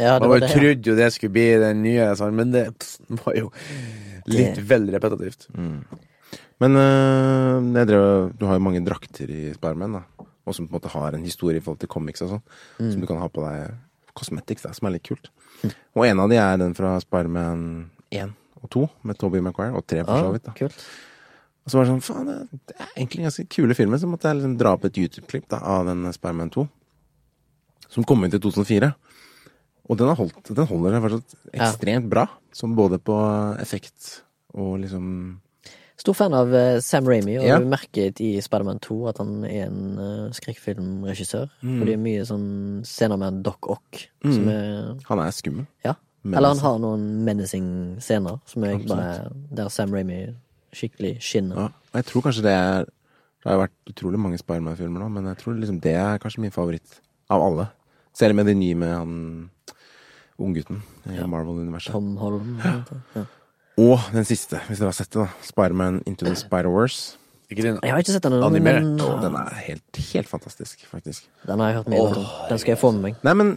Speaker 3: Ja,
Speaker 2: Man
Speaker 3: det var
Speaker 2: bare
Speaker 3: det. ja.
Speaker 2: trodde jo det skulle bli den nye, sånn, men det pss, var jo litt
Speaker 3: Det-
Speaker 2: vel repetitivt.
Speaker 1: Mm. Men øh, jeg drev, du har jo mange drakter i Spiderman, da. Og som på en måte har en historie i forhold til comics og sånn.
Speaker 3: Mm.
Speaker 1: Som du kan ha på deg cosmetics, da, som er litt kult. Og en av de er den fra Spiderman 1 og 2, med Toby Maguire. Og 3, for så vidt. da
Speaker 3: Ah, kult.
Speaker 1: Og så var det sånn, faen, det- det er egentlig ganske kule filmer. Så måtte jeg liksom dra opp et YouTube-klipp da, av den Spiderman 2. Som kom ut i 2004. Og den, har holdt, den holder seg fortsatt
Speaker 3: Ja.
Speaker 1: ekstremt bra. Sånn både på effekt og liksom
Speaker 3: Stor fan av eh, Sam Ramy, og
Speaker 1: Ja.
Speaker 3: du merker i Spiderman 2 at han er en eh, skrekkfilmregissør.
Speaker 1: Mm.
Speaker 3: For det er mye sånn scener med en Doc Ock som er
Speaker 1: Han er skummel.
Speaker 3: Ja.
Speaker 1: Mm. Menacing.
Speaker 3: Eller han har noen menacing scener som er bare der Sam Ramy skikkelig skinner.
Speaker 1: Ja. Og jeg tror kanskje det er Det har jo vært utrolig mange Spiderman-filmer nå, men jeg tror liksom det er kanskje min favoritt av alle. Selv med de nye med han unggutten i Marvel-universet.
Speaker 3: Tom Holm. Ja.
Speaker 1: Og den siste, hvis dere har sett det, da. Spiderman Into the Spider-Wars.
Speaker 2: Ikke din?
Speaker 3: Jeg har ikke sett den, ennå,
Speaker 2: Animert,
Speaker 3: men
Speaker 1: Og den er helt, helt fantastisk, faktisk.
Speaker 3: den har jeg hørt mye godt om. Den skal jeg få med meg.
Speaker 1: Nei, men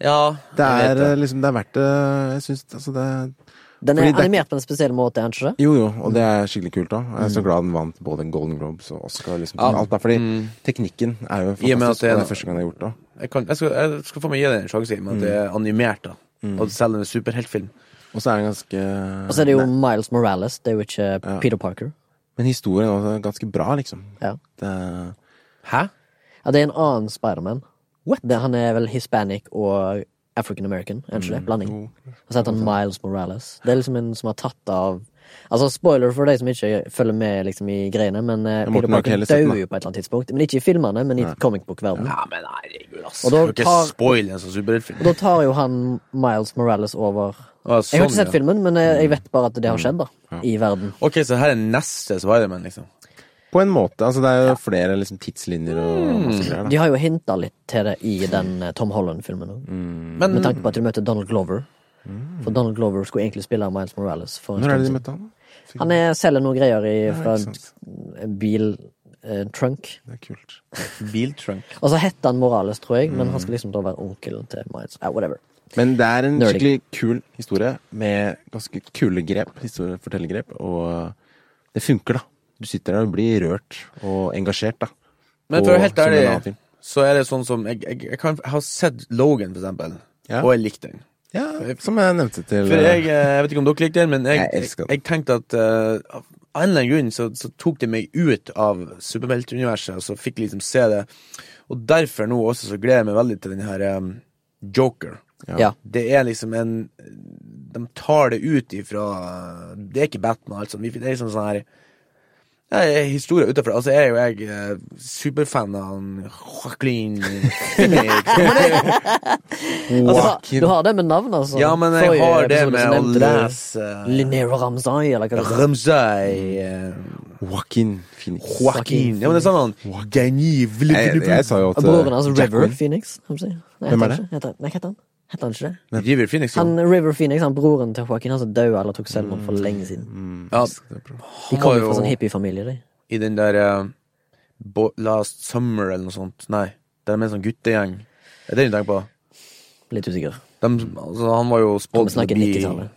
Speaker 2: Ja,
Speaker 1: det
Speaker 2: jeg vet
Speaker 1: er
Speaker 2: det.
Speaker 1: eh, liksom Det er verdt det. Jeg syns altså det
Speaker 3: Den
Speaker 1: Fordi
Speaker 3: er
Speaker 1: det er
Speaker 3: animert på en spesiell måte, er den ikke det?
Speaker 1: Jo, jo, og det er skikkelig kult òg. Jeg er
Speaker 2: Mm.
Speaker 1: så glad den vant både Golden Globes og Oscar. Liksom, alt der, fordi teknikken er jo
Speaker 2: Mm. I og
Speaker 1: fantastisk,
Speaker 2: med at det er
Speaker 1: og det
Speaker 2: en- eh,
Speaker 1: er første gang jeg har gjort det. Mm.
Speaker 2: Jeg, kan, jeg, skal, jeg skal få meg gi det en sjanse, men at det er animert, da. Og selger en superheltfilm.
Speaker 1: Og så er den ganske
Speaker 3: Og så er det jo Miles Morales, det er jo ikke Peter Parker.
Speaker 1: Men historien er også ganske bra, liksom.
Speaker 3: Ja.
Speaker 1: Det er
Speaker 2: Hæ?
Speaker 3: ja, det er en annen Spiderman. Det- Han er vel hispanic og African American, er det ikke det? Blanding. Og så heter han Miles Morales. Det er liksom en som har tatt av Altså, spoiler for de som ikke følger med liksom, i greiene, men eh,
Speaker 1: Morten
Speaker 3: Peter
Speaker 1: har ikke
Speaker 3: Parker
Speaker 1: heller sett den,
Speaker 3: dør
Speaker 1: da.
Speaker 3: jo på et eller annet tidspunkt. Men ikke i filmene, men i comicbook-verdenen.
Speaker 2: Ja, men herregud, ass.
Speaker 3: Og da
Speaker 2: Kan ikke
Speaker 3: tar-
Speaker 2: spoil en sånn superheltfilm.
Speaker 3: Og da tar jo han Miles Morales over.
Speaker 2: Ah,
Speaker 3: Jeg har
Speaker 2: sånn,
Speaker 3: ikke sett
Speaker 2: ja. Mm.
Speaker 3: filmen, men eh, jeg, jeg vet bare at det har skjedd, da. I verden.
Speaker 2: Ok, så her er neste Spiderman, liksom.
Speaker 1: På en måte. Altså, det er jo flere liksom, tidslinjer
Speaker 2: Mm.
Speaker 1: og masse greier. Da.
Speaker 3: De har jo hinta litt til det i den eh, Tom Holland-filmen òg.
Speaker 1: Mm.
Speaker 2: Men
Speaker 3: Med tanke på at de møter Donald Glover. For Donald Glover skulle egentlig spille Miles Morales. For en
Speaker 1: Når er
Speaker 3: stund
Speaker 1: det de
Speaker 3: siden.
Speaker 1: møtte han? da?
Speaker 3: Han er, selger noen greier i, fra
Speaker 1: ikke
Speaker 3: en
Speaker 1: sant.
Speaker 3: en bil eh, trunk.
Speaker 1: Det er kult.
Speaker 2: Biltrunk.
Speaker 3: Og så heter han Morales, tror jeg, men han
Speaker 1: Mm.
Speaker 3: skal liksom da være onkelen til Miles. Ja, whatever.
Speaker 1: Men det er en
Speaker 3: Nerding.
Speaker 1: skikkelig kul historie med ganske kule grep, historiefortellergrep, og det funker, da. Du sitter der og blir rørt og engasjert, da.
Speaker 2: Men for å
Speaker 1: Og
Speaker 2: være helt
Speaker 1: som en annen
Speaker 2: ærlig,
Speaker 1: film.
Speaker 2: så er det sånn som Jeg, jeg, jeg, kan, jeg har sett Logan, for eksempel,
Speaker 1: Ja.
Speaker 2: og jeg likte den.
Speaker 1: Ja, som jeg nevnte til
Speaker 2: For jeg, eh, jeg vet ikke om dere likte den, men jeg,
Speaker 1: Jeg
Speaker 2: jeg,
Speaker 1: elsker den.
Speaker 2: jeg tenkte at eh, av en eller annen grunn så, så tok det meg ut av superheltuniverset, og så fikk jeg liksom se det. Og derfor nå også så gleder jeg meg veldig til den her eh, Joker.
Speaker 1: Ja.
Speaker 3: Ja.
Speaker 2: Det er liksom en De tar det ut ifra Det er ikke Batman, altså. Vi- Det er liksom sånn her ja, jeg er historie utenfor. Altså, jeg er jo jeg eh, superfan av han Joaquin Phoenix.
Speaker 3: Altså, du har det med navn, altså.
Speaker 2: Ja, men jeg
Speaker 3: Forrige
Speaker 2: har det
Speaker 3: episode så
Speaker 2: med å
Speaker 3: nevnte du
Speaker 2: lese eh,
Speaker 3: Linnero Ramsay, eller hva det heter.
Speaker 2: Ramsay eh,
Speaker 1: Joaquin Phoenix.
Speaker 2: Joaquin. Ja, men det er sånn han Denis
Speaker 1: Jeg, jeg sa jo at eh,
Speaker 3: Og broren hans,
Speaker 1: Jack
Speaker 3: River
Speaker 1: Win-
Speaker 3: Phoenix. kan du si. Nei,
Speaker 1: Hvem er
Speaker 3: heter han ikke- Heter, han- nei, heter han? Heter han ikke det?
Speaker 2: River Phoenix, jo.
Speaker 3: Han, River Phoenix, han broren til Joaquin, han som døde eller tok selvmord
Speaker 1: Mm.
Speaker 3: for lenge siden.
Speaker 2: Ja,
Speaker 3: De
Speaker 2: var
Speaker 3: kommer jo
Speaker 2: jo-
Speaker 3: fra sånn hippiefamilie, de.
Speaker 2: I den der eh, Bo Last Summer eller noe sånt. Nei, det er med en sånn guttegjeng. Er det den du tenker på?
Speaker 3: Litt usikker.
Speaker 2: De, altså, han var jo
Speaker 3: Kan
Speaker 2: spådd
Speaker 3: vi snakke 90-tallet?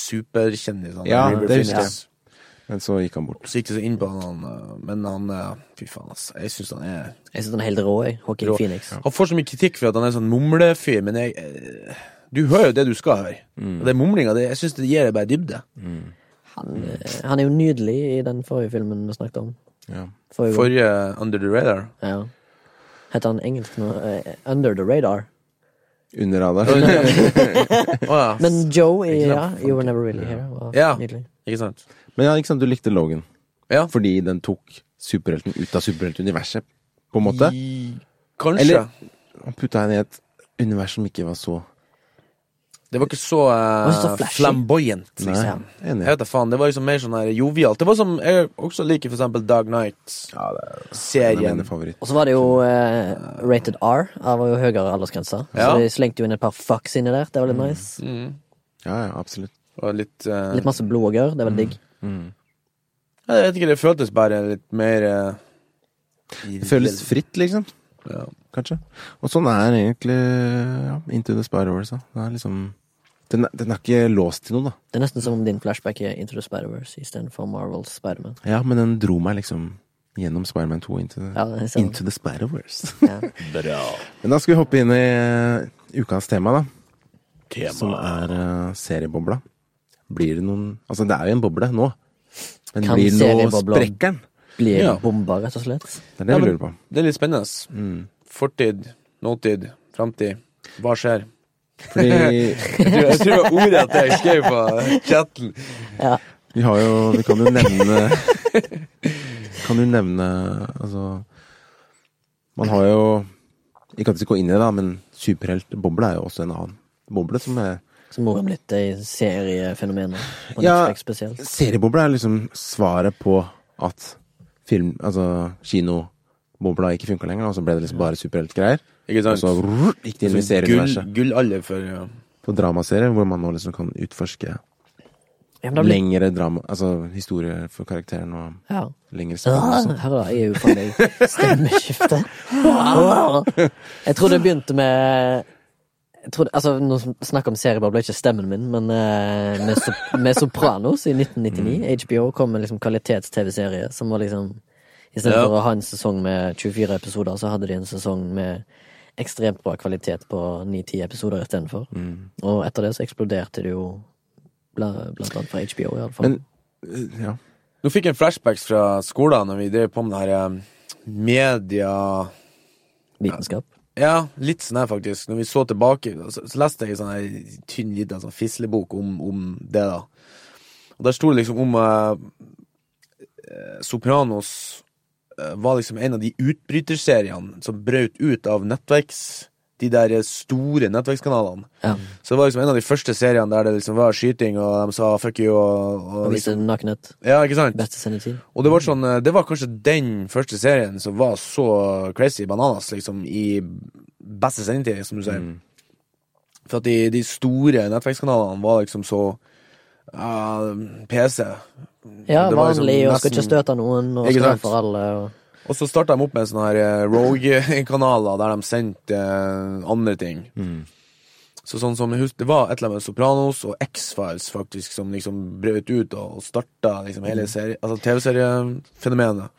Speaker 2: superkjendis. han,
Speaker 1: Ja,
Speaker 2: River
Speaker 1: det husker
Speaker 2: Phoenix.
Speaker 1: jeg. Men så gikk han bort.
Speaker 2: Så gikk det så inn på han, han, eh, men han eh, Fy faen, ass. Jeg syns han er
Speaker 3: Jeg synes han er helt rå, jeg. Joaquin
Speaker 2: Rå.
Speaker 3: Phoenix.
Speaker 2: Han får så mye kritikk for at han er sånn mumlefyr, men jeg eh, Du hører jo det du skal høre.
Speaker 1: Mm.
Speaker 2: Og det mumlinga, det, jeg syns det gir deg bare dybde.
Speaker 3: Han, eh, han er jo nydelig i den forrige filmen vi snakket om.
Speaker 1: Ja.
Speaker 3: Forrige gang.
Speaker 2: Forrige eh, Under the Radar.
Speaker 3: Ja. Heter han engelsk nå? Eh, Under the Radar.
Speaker 1: Under radaren.
Speaker 2: Å ja.
Speaker 3: Men Joe i
Speaker 2: Ikke sant?
Speaker 3: ja, You Were Never Really Here var
Speaker 2: Ja.
Speaker 3: nydelig.
Speaker 2: Ikke sant?
Speaker 1: Men ja, ikke sant, du likte Logan.
Speaker 2: Ja.
Speaker 1: Fordi den tok superhelten ut av superheltuniverset, på en måte.
Speaker 2: I- Kanskje.
Speaker 1: Eller han putta henne i et univers som ikke var så
Speaker 2: det var ikke så,
Speaker 3: var ikke så
Speaker 2: uh,
Speaker 3: flashy.
Speaker 2: flamboyant.
Speaker 1: Nei,
Speaker 2: Liksom.
Speaker 1: jeg er
Speaker 2: Jeg
Speaker 1: enig.
Speaker 2: vet da faen, Det var liksom mer sånn her jovialt. Det var som jeg også liker for eksempel Dag
Speaker 1: Ja, det er en av
Speaker 2: Knight-serien.
Speaker 1: mine favoritter.
Speaker 3: Og så var det jo eh, rated R. Det var jo høyere aldersgrense.
Speaker 2: Ja. Mm.
Speaker 3: Så de slengte jo inn et par fucks inni der. Det var litt nice.
Speaker 1: Ja, ja, absolutt.
Speaker 2: Og litt, eh,
Speaker 3: Litt masse blod og gørr. Det var digg.
Speaker 2: Jeg vet ikke, det føltes bare litt mer eh,
Speaker 1: Det føles fritt, liksom.
Speaker 2: Ja.
Speaker 1: Kanskje. Og sånn er egentlig ja, Into the Spider-Wars. da. Den er liksom den, er- den er ikke låst til noe, da.
Speaker 3: Det er nesten som om din flashback er Into the Spider-Verse istedenfor Marvels Spider-Man.
Speaker 1: Ja, men den dro meg liksom gjennom Spider-Man 2 og into, the-
Speaker 3: Ja, det er sant.
Speaker 1: into the Spider-Wars.
Speaker 3: Sånn. Ja.
Speaker 1: men da skal vi hoppe inn i eh, ukas tema, da. Som er eh, seriebobla. Blir det noen Altså, det er jo en boble nå. Men
Speaker 3: Kan
Speaker 1: blir det noe
Speaker 3: seriebobla-
Speaker 1: sprekkeren?
Speaker 3: Blir
Speaker 2: Ja.
Speaker 3: bomba, rett og slett.
Speaker 1: Det er det
Speaker 2: Ja,
Speaker 1: vi
Speaker 2: men-
Speaker 1: lurer på.
Speaker 2: Det er litt spennende. ass. Fortid, nåtid, framtid. Hva skjer?
Speaker 1: Fordi
Speaker 2: Jeg tror, jeg tror det var ordet at jeg skrev på chatten.
Speaker 1: vi har jo Vi kan jo nevne Kan jo nevne Altså Man har jo Ikke at vi skal gå inn i det, da, men superheltbobla er jo også en annen boble som er
Speaker 3: Som mora blitt ei seriefenomen. nå, På
Speaker 1: Ja.
Speaker 3: Netflix spesielt.
Speaker 1: Seriebobla er liksom svaret på at film Altså kinobobla ikke funka lenger, og så ble det liksom bare superheltgreier.
Speaker 2: Ikke
Speaker 1: Og
Speaker 2: sant?
Speaker 1: så rrr, gikk det inn i
Speaker 2: Sånn gull,
Speaker 1: serieuniverset.
Speaker 2: gullalder for ja.
Speaker 1: På dramaserier hvor man nå liksom kan utforske
Speaker 3: Ja, men da blir-
Speaker 1: lengre drama Altså historier for karakteren og
Speaker 3: Ja.
Speaker 1: lengre spenn og
Speaker 3: Ah,
Speaker 1: sånn.
Speaker 3: Her da, jeg er jo faen meg stemmeskifte. Ah. Jeg tror det begynte med jeg tror det, altså, Nå snakker om seriebobler, ikke stemmen min, men eh, med, so med Sopranos i 1999. HBO kom med liksom kvalitets-TV-serie som var liksom Istedenfor
Speaker 2: Ja.
Speaker 3: for å ha en sesong med 24 episoder, så hadde de en sesong med ekstremt bra kvalitet på ni-ti episoder istedenfor. Og etter det så eksploderte det jo bla- blant annet fra HBO, i alle fall.
Speaker 1: Men eh, ja.
Speaker 2: Nå fikk jeg flashbacks fra skolen når vi drev på med det her eh, media
Speaker 3: Vitenskap.
Speaker 2: Ja, litt sånn her faktisk. Når vi så tilbake, så, så leste jeg en sånn her tynn liten sånn fislebok om, om det, da. Og der sto det liksom om eh, eh, Sopranos eh, var liksom en av de utbryterseriene som brøt ut av nettverks De der store nettverkskanalene.
Speaker 3: Ja.
Speaker 2: Så det var liksom en av de første seriene der det liksom var skyting, og de sa fuck you, og, og,
Speaker 3: Og viste
Speaker 2: liksom,
Speaker 3: nakenhet.
Speaker 2: Ja, ikke sant?
Speaker 3: Beste sendetid.
Speaker 2: Og det var sånn, eh, det var kanskje den første serien som var så crazy bananas, liksom, i beste sendetid, som du sier.
Speaker 3: Mm.
Speaker 2: For at de, de store nettverkskanalene var liksom så eh, PC.
Speaker 3: Ja,
Speaker 2: Det var liksom
Speaker 3: vanlig, og skal ikke
Speaker 2: nesten-
Speaker 3: støte noen, og
Speaker 2: Ikke
Speaker 3: skal
Speaker 2: sant?
Speaker 3: for alle. Og...
Speaker 2: Og så starta de opp med sånne her eh, Rogue-kanaler, der de sendte eh, andre ting.
Speaker 3: Mm.
Speaker 2: Så sånn som jeg husker, Det var et eller annet med Sopranos og X-Files faktisk som liksom brøt ut og og starta liksom
Speaker 3: Mm.
Speaker 2: hele serie, altså TV-seriefenomenet.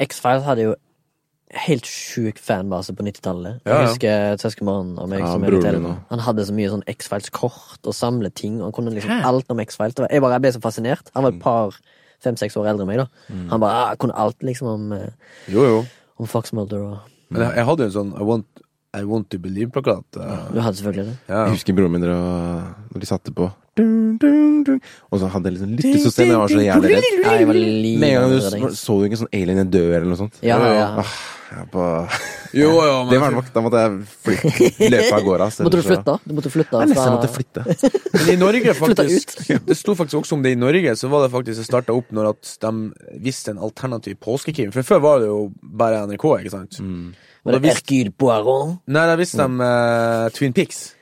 Speaker 3: X-Files hadde jo helt sjuk fanbase på 90-tallet.
Speaker 2: Ja, ja.
Speaker 3: Jeg husker søskenbarnet og meg
Speaker 1: Ja,
Speaker 3: som er
Speaker 1: broren
Speaker 3: litt
Speaker 1: min
Speaker 3: eldre.
Speaker 1: også.
Speaker 3: Han hadde så mye sånn X-Files-kort og samleting, og han kunne liksom alt om X-Files. Det var- Jeg bare jeg ble så fascinert. Han var et par, fem-seks år eldre enn meg, da. Han bare ah, kunne alt liksom om, eh,
Speaker 2: Jo, jo.
Speaker 3: om Fox Mulder og
Speaker 2: Men jeg, jeg hadde jo en sånn I want, I want to believe-plakat. eh,
Speaker 3: Du hadde selvfølgelig det.
Speaker 2: Ja.
Speaker 1: Jeg husker broren min dra, når de satte på dun, dun, dun. Og så hadde jeg liksom lyttesystem. Jeg var så jævlig redd.
Speaker 3: Ja, jeg var
Speaker 1: Med en gang du
Speaker 3: livredd. liksom.
Speaker 1: så, så du ikke en sånn alien i dør eller noe sånt?
Speaker 3: Ja, ja, ja.
Speaker 1: Åh, jeg på,
Speaker 2: Jo, jo, men-
Speaker 1: det var nok. Da måtte jeg flytte, løpe av gårde. ass,
Speaker 3: Måtte du
Speaker 1: ellers så-
Speaker 3: flytte? altså, Du måtte flytte
Speaker 1: Jeg nesten måtte
Speaker 3: fra
Speaker 1: flytte.
Speaker 2: Men i Norge, faktisk
Speaker 1: ut.
Speaker 2: Det sto faktisk også om det i Norge, så var det faktisk det starta opp når at de visste en alternativ påskekrim. For før var det jo bare NRK, ikke sant?
Speaker 1: Mm.
Speaker 3: Var det Hercule Poirot?
Speaker 2: Nei, da visste de eh, Twin Pics.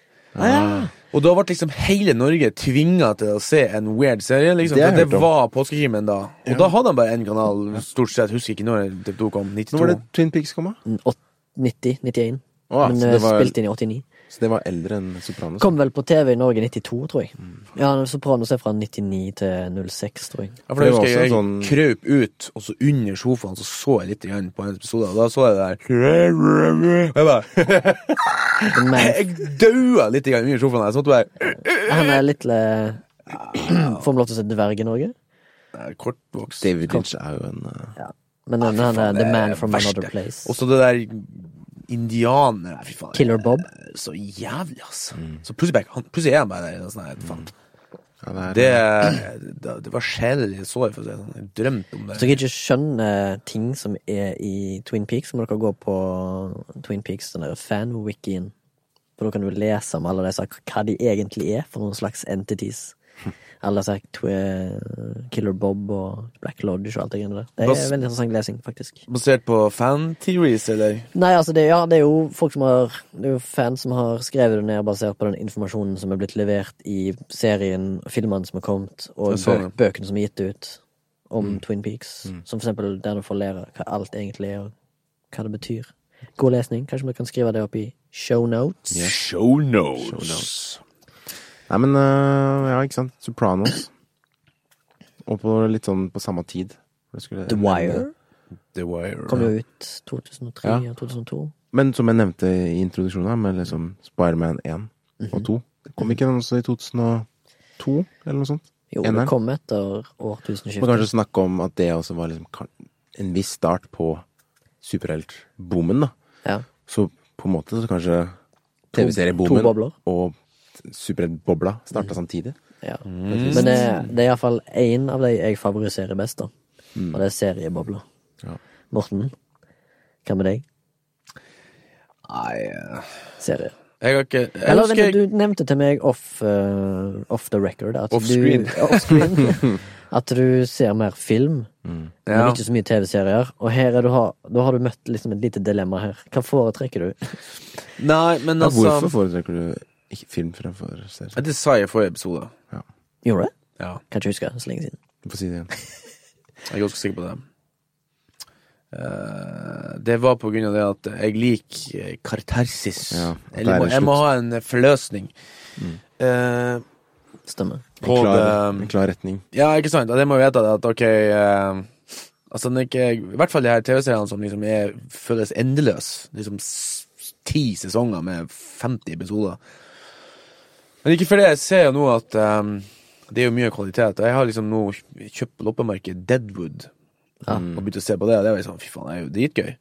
Speaker 2: Og da ble liksom hele Norge tvinga til å se en weird serie.
Speaker 1: Det
Speaker 2: liksom Det,
Speaker 1: har
Speaker 2: for
Speaker 1: jeg
Speaker 2: det
Speaker 1: hørt om.
Speaker 2: var påskekrimen da. Og da hadde de bare én kanal, stort sett. Husker ikke når TV2 kom.
Speaker 1: Nå var
Speaker 2: 92.
Speaker 1: det Twin Peaks kom, da.
Speaker 3: Åt- 90? 91?
Speaker 1: Å,
Speaker 3: Men
Speaker 1: så
Speaker 3: eh,
Speaker 1: det var-
Speaker 3: spilte inn i 89.
Speaker 1: Så det var eldre enn Sopranos.
Speaker 3: Kom vel på TV i Norge i 92, tror jeg.
Speaker 1: Mm.
Speaker 3: Ja, Sopranos er fra 99 til 06, tror jeg.
Speaker 2: Ja, for da
Speaker 1: Det var
Speaker 2: husker jeg, jeg
Speaker 1: også en sånn-
Speaker 2: krøp ut, og så under sofaen så så jeg litt igjen på en episode, og da så jeg det der Og jeg bare
Speaker 3: Men
Speaker 2: Jeg daua litt igjen under sofaen. Jeg så måtte bare
Speaker 3: han er litt eh, Får vi lov til å se dverg i Norge?
Speaker 2: Nei, Kortvokst.
Speaker 1: David Lynch er jo en eh,
Speaker 3: Men han- han er
Speaker 2: Det
Speaker 3: The
Speaker 2: er
Speaker 3: Man from
Speaker 2: verste.
Speaker 3: Another Place.
Speaker 2: Og så det der indianer Fy faen.
Speaker 3: Killer Bob.
Speaker 2: Så jævlig, altså. Så plutselig, bare- han, plutselig er han bare der. og Sånn, her, faen.
Speaker 1: ja, det er-
Speaker 2: Det, det, det var sjelelig så jeg, for å si det sånn. Jeg drømte om det.
Speaker 3: Hvis dere ikke skjønner ting som er i Twin Peaks, så må dere gå på Twin Peaks, den der fan-wikien. For da kan du lese om alle disse, hva de egentlig er for noen slags entities. Alle disse tw- Killer Bob og Black Lodge og alt det greiene der. Det
Speaker 2: Bas-
Speaker 3: er veldig interessant lesing, faktisk.
Speaker 2: Basert på fan-theories, eller?
Speaker 3: Nei, altså, det, ja, det er jo folk som har Det er jo fans som har skrevet det ned basert på den informasjonen som er blitt levert i serien, filmene som er kommet, og
Speaker 2: Jeg så
Speaker 3: bø
Speaker 2: det.
Speaker 3: bøkene som er gitt ut om Twin Peaks. Som for eksempel der du får lære hva alt egentlig er, og hva det betyr. God lesning. Kanskje vi kan skrive det opp i show notes?
Speaker 2: Show notes.
Speaker 1: Nei, men eh, ja, ikke sant. Sopranos. Og på litt sånn på samme tid. Det skulle-
Speaker 3: The Wire
Speaker 2: The Wire.
Speaker 3: kom jo ut 2003
Speaker 1: Ja.
Speaker 3: og 2002.
Speaker 1: Men som jeg nevnte i introduksjonen, her, med liksom Spiderman 1 og 2 Mhm. Det kom ikke den også i 2002, eller noe sånt?
Speaker 3: Jo,
Speaker 1: Eneren.
Speaker 3: det kom etter
Speaker 1: Man
Speaker 3: årtusenskiftet.
Speaker 1: kanskje snakke om at det også var liksom kan- en viss start på superheltboomen, da.
Speaker 3: Ja.
Speaker 1: Så på en måte så kanskje
Speaker 3: To- to
Speaker 1: TV-serieboomen
Speaker 3: bobler.
Speaker 1: og superheltbobla starta samtidig.
Speaker 3: Ja.
Speaker 2: Mm.
Speaker 3: Men det, det er iallfall én av de jeg favoriserer best, da.
Speaker 2: Mm.
Speaker 3: Og det er seriebobler.
Speaker 1: Ja.
Speaker 3: Morten, hva med deg?
Speaker 2: Nei eh,
Speaker 3: Serier.
Speaker 2: Jeg har ikke jeg
Speaker 3: Eller,
Speaker 2: husker,
Speaker 3: vent, du nevnte til meg off, eh, off the record at
Speaker 2: Off
Speaker 3: du,
Speaker 2: screen.
Speaker 3: off screen At du ser mer film,
Speaker 2: Ja.
Speaker 3: men ikke så mye TV-serier. Og her er du har, da har du møtt liksom et lite dilemma her. Hva foretrekker du?
Speaker 2: Nei, men
Speaker 1: Ja,
Speaker 2: altså
Speaker 1: hvorfor foretrekker du ikke film fremfor serier?
Speaker 2: Det sa jeg i forrige episode.
Speaker 3: Gjorde det?
Speaker 2: Ja,
Speaker 3: Kan ikke huske. Så lenge siden.
Speaker 1: Du får si det igjen.
Speaker 2: jeg er ganske sikker på det. Eh, det var på grunn av det at jeg liker eh, kartersis.
Speaker 1: Ja, at det
Speaker 2: Eller
Speaker 1: er
Speaker 2: må,
Speaker 1: en
Speaker 2: jeg må
Speaker 1: slutt.
Speaker 2: ha en forløsning. Eh, ehm,
Speaker 3: Stemmer.
Speaker 1: En
Speaker 2: på
Speaker 1: klar,
Speaker 2: det um,
Speaker 1: en klar retning.
Speaker 2: Ja, ikke sant? Og det må jo vite at ok eh, Altså, når ikke, I hvert fall de her TV-seriene som liksom er, føles endeløse. Liksom s- ti sesonger med 50 episoder. Men ikke for det, jeg ser jo nå at um, det er jo mye kvalitet. Og jeg har liksom nå kjøpt på loppemarked Deadwood
Speaker 3: Ja.
Speaker 2: og begynt å se på det. Og det var liksom, fy faen, det er jo dritgøy.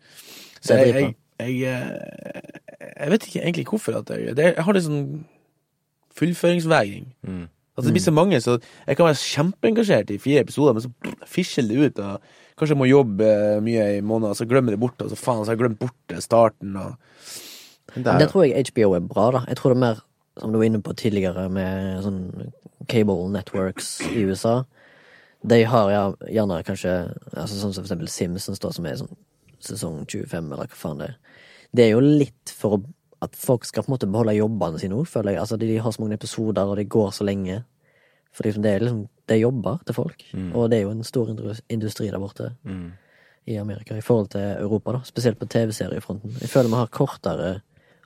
Speaker 2: Så
Speaker 3: Det er
Speaker 2: jeg, jeg, jeg, eh, jeg vet ikke egentlig hvorfor at jeg det, Jeg har liksom fullføringsvegring.
Speaker 1: Mm.
Speaker 2: At Altså, det blir så mange, så jeg kan være kjempeengasjert i fire episoder, men så fisjer det ut. Og kanskje jeg må jobbe eh, mye i måneder, så glemmer jeg det bort. Og så faen, så har jeg glemt bort det starten. Og
Speaker 1: Men
Speaker 3: Men
Speaker 1: det
Speaker 3: det
Speaker 1: er,
Speaker 3: tror jeg HBO er bra, da. Jeg tror det er mer, som du var inne på tidligere, med sånn cable networks i USA. De har ja, gjerne kanskje altså Sånn som for eksempel Simpsons, da, som er sånn sesong 25, eller hva faen det er. Det er jo litt for å- at folk skal på en måte beholde jobbene sine òg, føler jeg. Altså, de har så mange episoder, og de går så lenge. For liksom, det er liksom Det er jobber til folk, og det er jo en stor indru- industri der borte i Amerika i forhold til Europa, da. Spesielt på TV-seriefronten. Jeg føler vi har kortere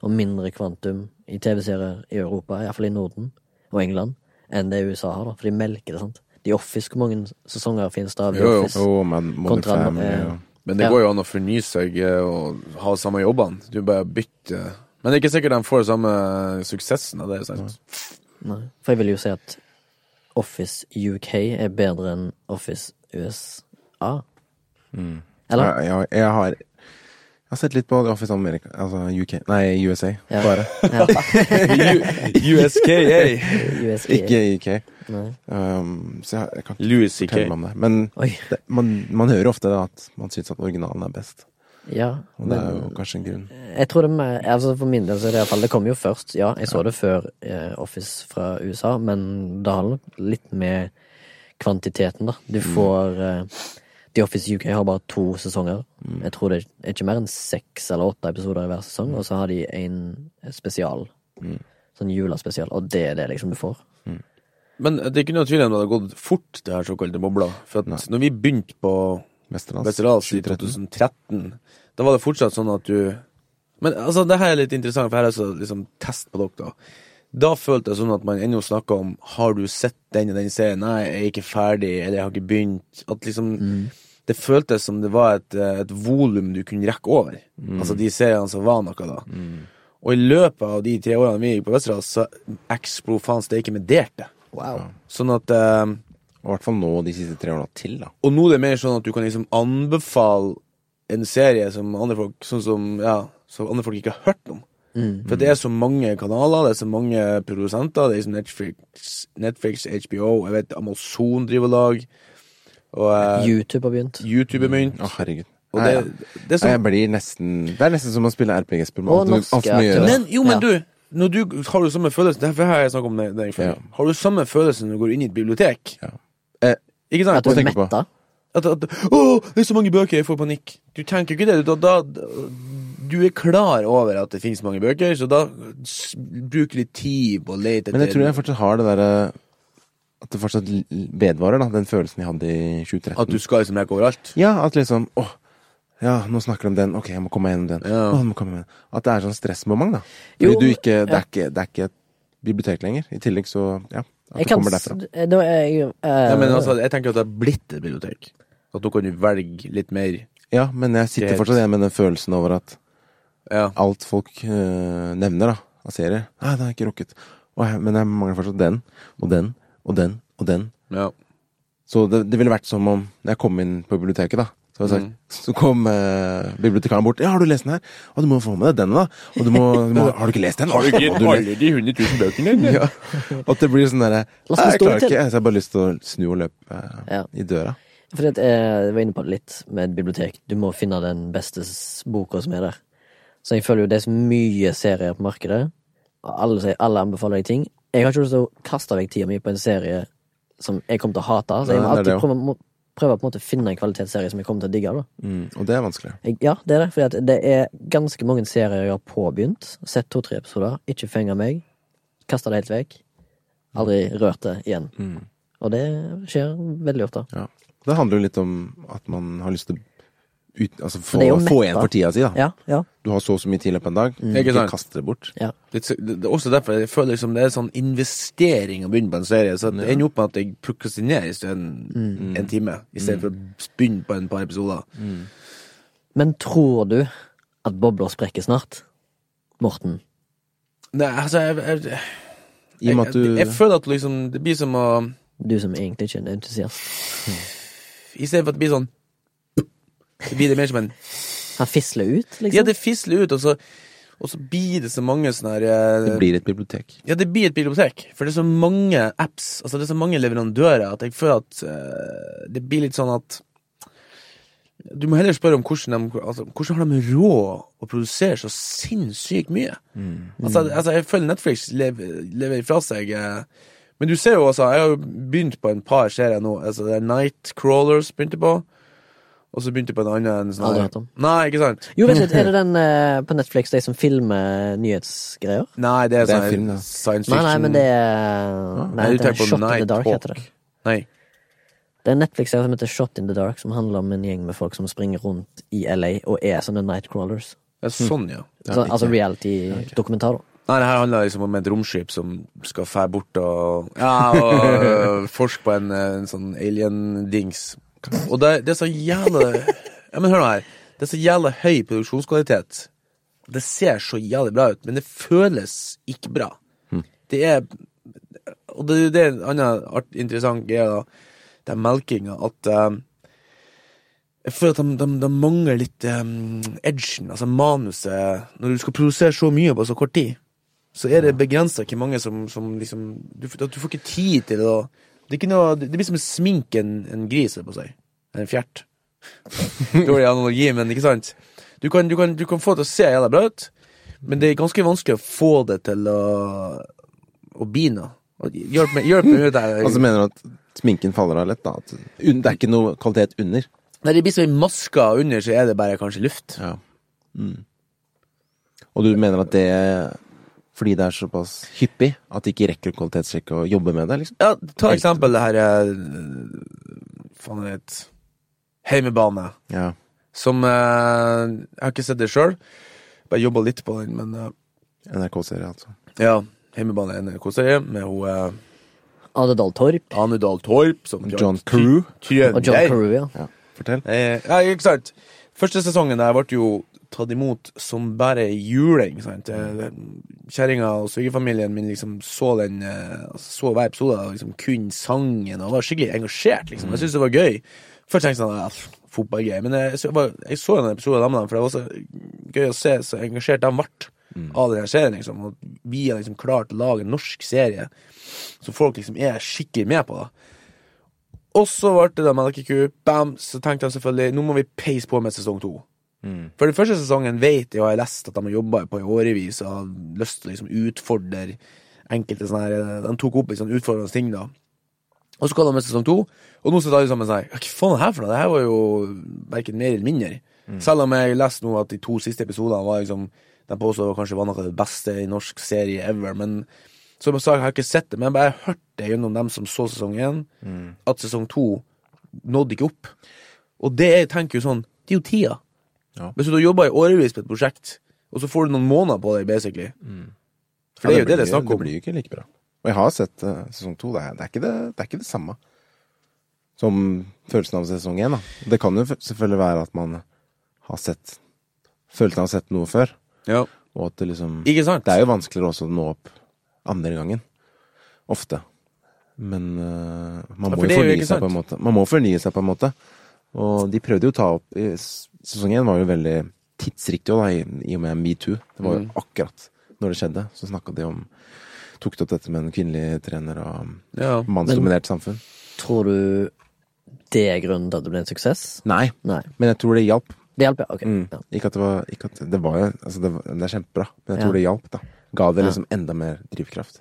Speaker 3: og mindre kvantum i TV-serier i Europa, iallfall i Norden og England, enn det USA har, da. For de melker det, sant. The Office, hvor mange sesonger finnes det av The
Speaker 2: Jo, jo.
Speaker 3: Office?
Speaker 1: oh, man,
Speaker 3: Kontra,
Speaker 1: Modern Family,
Speaker 3: eh,
Speaker 1: og-
Speaker 2: Men det
Speaker 3: Ja.
Speaker 2: går jo an å fornye seg eh, og ha samme jobbene. Du bare bytter. Men det er ikke sikkert de får samme suksessen av det.
Speaker 1: Mm.
Speaker 2: sant?
Speaker 3: Nei. For jeg vil jo si at Office UK er bedre enn Office USA. Eller?
Speaker 1: jeg, jeg, jeg har jeg har sett litt på The Office America, altså UK, nei USA,
Speaker 3: Ja.
Speaker 1: bare.
Speaker 3: Ja,
Speaker 2: U- USKA.
Speaker 3: USG.
Speaker 1: Ikke UK.
Speaker 3: Nei.
Speaker 1: Um, så jeg, jeg kan ikke
Speaker 2: Louis
Speaker 1: fortelle meg
Speaker 2: CK.
Speaker 1: om det. Men
Speaker 3: Oi.
Speaker 1: det, man, man hører ofte da at man syns at originalen er best.
Speaker 3: Ja.
Speaker 1: Og det er jo kanskje en grunn.
Speaker 3: Jeg tror det er mer, altså For min del så er det iallfall Det kom jo først. Ja, jeg så det før eh, Office fra USA, men det handler nok litt med kvantiteten, da.
Speaker 1: Mm.
Speaker 3: Du får eh, The Office UK har bare to sesonger.
Speaker 1: Mm.
Speaker 3: Jeg tror det er ikke mer enn seks eller åtte episoder i hver sesong, og så har de en spesial.
Speaker 1: Mm.
Speaker 3: Sånn julespesial, og det er det liksom du får.
Speaker 2: Men det er ikke noe tvil om det hadde gått fort, det her såkalte bobla. For at
Speaker 1: Nei.
Speaker 2: når vi begynte på
Speaker 1: Westerdals.
Speaker 2: Westerdals i
Speaker 1: 2013.
Speaker 2: 2013, da var det fortsatt sånn at du Men altså, det her er litt interessant, for her er altså liksom test på dere. Da følte jeg sånn at man ennå snakka om Har du sett den og den serien? Nei, jeg er ikke ferdig, eller jeg har ikke begynt. At liksom Det føltes som det var et, eh, et volum du kunne rekke over. Altså de seriene som var noe, da. Og i løpet av de tre årene vi gikk på Westerdals, så eksplo faen steike med delte.
Speaker 3: Wow.
Speaker 2: Sånn at eh,
Speaker 1: Og i hvert fall nå de siste tre årene til, da.
Speaker 2: Og nå er det mer sånn at du kan liksom anbefale en serie som andre folk Sånn som, ja, som andre folk ikke har hørt om.
Speaker 1: Mm.
Speaker 2: For det er så mange kanaler, det er så mange produsenter. Det er liksom Netflix, Netflix HBO, jeg vet Amazon driver lag. Og eh,
Speaker 3: YouTube har begynt.
Speaker 2: YouTube er mynt.
Speaker 1: Å, herregud.
Speaker 2: Og det,
Speaker 1: Nei,
Speaker 2: det er
Speaker 1: Nei, jeg
Speaker 2: sånn
Speaker 1: blir nesten Det er nesten som å spille RPG-spill.
Speaker 3: Og
Speaker 1: man har alt-
Speaker 3: norske
Speaker 1: alt mye å
Speaker 3: aktører.
Speaker 1: gjøre.
Speaker 2: Men jo, men
Speaker 3: Ja.
Speaker 2: du, når du har du samme følelse Derfor har jeg snakket om det, det jeg føler.
Speaker 1: Ja.
Speaker 2: Har du samme følelse når du går inn i et bibliotek?
Speaker 1: Ja.
Speaker 2: Eh, ikke sant?
Speaker 3: At du
Speaker 1: Hva
Speaker 3: er
Speaker 1: tenker du på?
Speaker 3: metta.
Speaker 2: At, at Å, det er så mange bøker, jeg får panikk. Du tenker ikke det. Du, da, da, du er klar over at det finnes mange bøker, så da s- bruker du litt tid på å lete
Speaker 1: Men jeg tror jeg fortsatt har det derre At det fortsatt l- l- vedvarer, da. Den følelsen jeg hadde i 2013.
Speaker 2: At du skal liksom rekke overalt.
Speaker 1: Ja, at liksom Åh, ja, nå snakker de om den. Ok, jeg må komme meg gjennom den.
Speaker 2: Ja.
Speaker 1: Åh, jeg må komme meg gjennom. At det er sånn stressmoment, da. Fordi
Speaker 3: Jo,
Speaker 1: du ikke det, er ikke det er ikke et bibliotek lenger. I tillegg så Ja. At
Speaker 3: Jeg
Speaker 1: det
Speaker 3: kan
Speaker 1: kommer
Speaker 3: s-
Speaker 1: derfra.
Speaker 3: Da er jeg eh,
Speaker 2: Nei, men altså, jeg tenker at det har blitt et bibliotek. At nå kan du velge litt mer.
Speaker 1: Ja, men jeg sitter
Speaker 2: Helt-
Speaker 1: fortsatt igjen med den følelsen over at
Speaker 2: Ja.
Speaker 1: alt folk øh, nevner, da, av serier Nei, det har jeg ikke rukket. Åh, jeg- men jeg mangler fortsatt den, og den, og den, og den.
Speaker 2: ja.
Speaker 1: Så det, det ville vært som om Når jeg kom inn på biblioteket da Så, hadde jeg sagt, så kom eh, bibliotekaren bort Ja, har du lest den her? Og du må få med deg den da Og du må, du må Har du ikke lest den? Har du ikke
Speaker 2: de 100 000 bøkene
Speaker 1: ja. At det blir sånn der Jeg
Speaker 3: La oss få
Speaker 1: klarer
Speaker 3: stå til.
Speaker 1: ikke Så jeg har bare lyst til å snu og løpe eh,
Speaker 3: Ja.
Speaker 1: i døra
Speaker 3: Fordi at jeg var inne på det litt med et bibliotek. Du må finne den beste s- boka som er der. Så jeg føler jo det er så mye serier på markedet. Og alle, sier- alle anbefaler deg ting. Jeg har ikke lyst til å kaste vekk tida mi på en serie som jeg kommer til å hate. Så
Speaker 1: Nei,
Speaker 3: jeg må
Speaker 1: det er
Speaker 3: alltid
Speaker 1: det
Speaker 3: prøve, må prøve på en måte å finne en kvalitetsserie som jeg kommer til å digge. da.
Speaker 1: mm, Og det er vanskelig
Speaker 3: Jeg- Ja, det er det. Fordi at det er ganske mange serier jeg har påbegynt. Sett to-tre episoder. Ikke fenga meg. Kasta det helt vekk. Aldri rørt det igjen.
Speaker 1: Mm.
Speaker 3: Og det skjer veldig ofte.
Speaker 1: ja. Det handler jo litt om at man har lyst til å ut, altså, få,
Speaker 3: det er jo
Speaker 1: få
Speaker 3: mett,
Speaker 1: igjen
Speaker 3: da.
Speaker 1: for tida si da
Speaker 3: Ja, ja.
Speaker 1: Du har så og så mye tid i løpet av en dag
Speaker 2: Ikke
Speaker 1: Ikke
Speaker 2: sant?
Speaker 1: kaste det bort
Speaker 3: ja.
Speaker 2: Litt, så- det det er også derfor jeg føler liksom det er sånn investering å begynne på en serie. Så det ender opp med at jeg prokrastinerer i stedet
Speaker 1: Mm.
Speaker 2: en, en time, i stedet for å begynne på en par episoder.
Speaker 3: Men tror du at bobler sprekker snart? Morten.
Speaker 2: Nei, altså, jeg, jeg, jeg,
Speaker 1: I og med at du
Speaker 2: jeg, jeg føler at liksom, det blir som å
Speaker 3: Du som egentlig ikke er en entusiast.
Speaker 2: I stedet for at det blir sånn Så blir det mer som en
Speaker 3: Han fisler ut, liksom.
Speaker 2: Ja, det fisler ut, og så, og så blir det så mange sånne her eh,
Speaker 1: Det blir et bibliotek.
Speaker 2: Ja, det blir et bibliotek. For det er så mange apps, altså det er så mange leverandører, at jeg føler at eh, det blir litt sånn at Du må heller spørre om hvordan de, altså, hvordan har de råd å produsere så sinnssykt mye.
Speaker 3: Mm.
Speaker 2: Altså, altså, jeg føler Netflix lever, lever ifra seg eh, Men du ser jo altså, jeg har jo begynt på en par serier nå. Altså, det er Nightcrawlers begynte på. Og så begynte jeg på en annen en sånn
Speaker 3: Aldri
Speaker 2: her-
Speaker 3: hørt om.
Speaker 2: Nei, ikke sant?
Speaker 3: Jo, vent litt, er det den eh, på Netflix, de som filmer nyhetsgreier?
Speaker 2: Nei, det er
Speaker 1: Det er
Speaker 2: sånn
Speaker 1: film, da.
Speaker 2: her science
Speaker 3: Nei,
Speaker 2: fiction.
Speaker 3: nei, men det er Nei,
Speaker 2: Nei, du
Speaker 3: det er
Speaker 2: tenker på
Speaker 3: Shot in the
Speaker 2: Night
Speaker 3: Dark,
Speaker 2: Hawk.
Speaker 3: heter det.
Speaker 2: Nei.
Speaker 3: Det er en Netflix-serie som heter Shot in the Dark, som handler om en gjeng med folk som springer rundt i LA og er sånne nightcrawlers.
Speaker 2: det er sånn, ja.
Speaker 1: Ja,
Speaker 3: Så,
Speaker 1: ikke-
Speaker 3: altså reality-dokumentar, da.
Speaker 2: Nei, det her handler liksom om et romskip som skal fære bort og, ja, og øh, forske på en, øh, en sånn alien-dings. Og det, det er så jævla ja, men Hør nå her. Det er så jævla høy produksjonskvalitet. Det ser så jævlig bra ut, men det føles ikke bra. Det er Og det, det er en annen art, interessant greie, da. Det er melkinga. At eh, jeg føler at de, de, de mangler litt eh, edgen, altså manuset. Når du skal produsere så mye på så kort tid, så er det begrensa hvor mange som, som liksom du, f- at du får ikke tid til det. og Det, er ikke noe, det blir som å sminke en, en gris, holdt jeg på å si. Eller en fjert. Dårlig analogi, men ikke sant? Du kan, du kan, du kan få det til å se jævla bra ut, men det er ganske vanskelig å få det til å, å bli noe. Og Hjelp meg, hjelp meg ut her.
Speaker 1: Altså mener du at sminken faller av lett, da? At un- det er ikke noe kvalitet under?
Speaker 2: Nei, det blir som ei maske, og under så er det bare kanskje luft.
Speaker 1: Ja. Mm. Og du mener at det Fordi det er såpass hyppig at de ikke rekker å kvalitetssjekke og jobbe med det, liksom?
Speaker 2: Ja, ta eksempel det her eh, Faen, det het Heimebane.
Speaker 1: Ja.
Speaker 2: Som eh, Jeg har ikke sett det sjøl. Bare jobba litt på den, men eh,
Speaker 1: NRK-serie, altså.
Speaker 2: ja. Heimebane er en koseserie med hun eh,
Speaker 3: Adedal Torp
Speaker 2: Anu Dahl Torp som
Speaker 1: John Carew.
Speaker 3: og John Carew, ja.
Speaker 1: Ja, fortell.
Speaker 2: Eh, ja, ikke sant. Første sesongen der ble jo tatt imot som bare juling. sant? Eh, Kjerringa og svigerfamilien min liksom så den eh, altså, så hver episode og liksom kun sangen og var skikkelig engasjert. liksom. Jeg syntes det var gøy. Først tenkte jeg sånn ja, pff, fotballgreier, men jeg, så, bare, jeg så en episode av dem, for det var så gøy å se så engasjert de ble av den her serien. liksom. Og vi har liksom klart å lage en norsk serie som folk liksom er skikkelig med på. da. Og så ble det da melkeku. Bam! Så tenkte jeg selvfølgelig nå må vi peise på med sesong to. For den første sesongen vet jeg og jeg har lest at de har jobba på i årevis og har lyst til å liksom utfordre enkelte sånne her De tok opp litt sånn utfordrende ting, da. Og så kom de med sesong to, og nå sitter alle sammen og sier Hva faen er det her for noe? Det her var jo verken mer eller mindre.
Speaker 1: Mm.
Speaker 2: Selv om jeg leste nå at de to siste episodene var liksom De påstår kanskje var noe av det beste i norsk serie ever, men som jeg sa, jeg har ikke sett det, men jeg bare hørte det gjennom dem som så sesong én,
Speaker 1: Mm.
Speaker 2: at sesong to nådde ikke opp. Og det er, tenker jo sånn, det er jo tida.
Speaker 1: Ja.
Speaker 2: Hvis du har jobba i årevis på et prosjekt, og så får du noen måneder på deg, basically. For det er jo det det er snakk
Speaker 1: Mm. Det
Speaker 2: om.
Speaker 1: blir jo ikke like bra. Og jeg har sett eh, sesong to. Det er, det, er ikke det, det er ikke det samme som følelsen av sesong én. da. Det kan jo f- selvfølgelig være at man har sett Følelsen av å ha sett noe før,
Speaker 2: Ja.
Speaker 1: og at det liksom
Speaker 2: Ikke sant?
Speaker 1: Det er jo vanskeligere også å nå opp andre gangen. Ofte. Men eh, man
Speaker 2: Ja,
Speaker 1: må
Speaker 2: for det
Speaker 1: jo
Speaker 2: er jo
Speaker 1: fornye
Speaker 2: ikke
Speaker 1: seg på en måte. Man må fornye seg på en måte. Og de prøvde jo å ta opp i s- Sesong én var jo veldig tidsriktig også, da, i, i og med metoo. Det var jo akkurat når det skjedde. Så snakka de om Tok de opp dette med en kvinnelig trener og
Speaker 2: Ja.
Speaker 1: mannsdominert samfunn?
Speaker 3: Tror du det er grunnen til at det ble en suksess?
Speaker 1: Nei.
Speaker 3: Nei.
Speaker 1: Men jeg tror det hjalp.
Speaker 3: Det hjelper, ja. Ok.
Speaker 1: Mm.
Speaker 3: Ja.
Speaker 1: Ikke at det var ikke at Det var jo altså det, var, det er kjempebra, men jeg
Speaker 3: Ja.
Speaker 1: tror det hjalp, da. Ga det
Speaker 3: Ja.
Speaker 1: liksom enda mer drivkraft.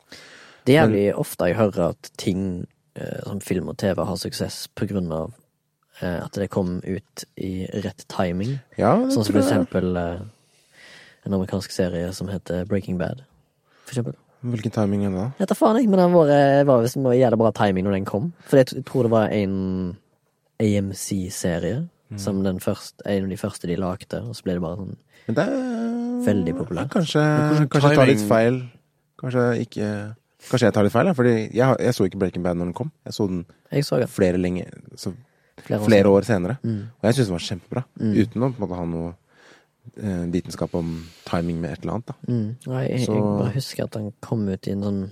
Speaker 3: Det er jævlig ofte jeg hører at ting eh, som film og TV har suksess på grunn av eh, at det kom ut i rett timing.
Speaker 1: Ja, det
Speaker 3: Sånn som
Speaker 1: tror
Speaker 3: for
Speaker 1: jeg.
Speaker 3: eksempel eh, en amerikansk serie som heter Breaking Bad. For eksempel.
Speaker 1: Hvilken timing er det da?
Speaker 3: Jeg vet da faen, jeg, men den var, eh, var visst med jævla bra timing når den kom. For jeg, t- jeg tror det var en AMC-serie. Som den første, en av de første de lagde, og så ble det bare sånn
Speaker 1: Men det er
Speaker 3: Veldig populært.
Speaker 1: Kanskje,
Speaker 2: hvordan
Speaker 1: kanskje jeg tar litt
Speaker 2: timing-
Speaker 1: feil. Kanskje jeg ikke Kanskje jeg tar litt feil, da. Fordi jeg, har- jeg så ikke Breaking Bad når den kom. Jeg så den
Speaker 3: Jeg så den
Speaker 1: flere, lenge, så
Speaker 3: flere år. Mm.
Speaker 1: flere år senere. Og jeg syns den var kjempebra. Uten å på en måte ha noe eh, vitenskap om timing med et eller annet. Da.
Speaker 3: Mm. Nei, jeg, jeg
Speaker 1: Så-
Speaker 3: bare husker at han kom ut i en sånn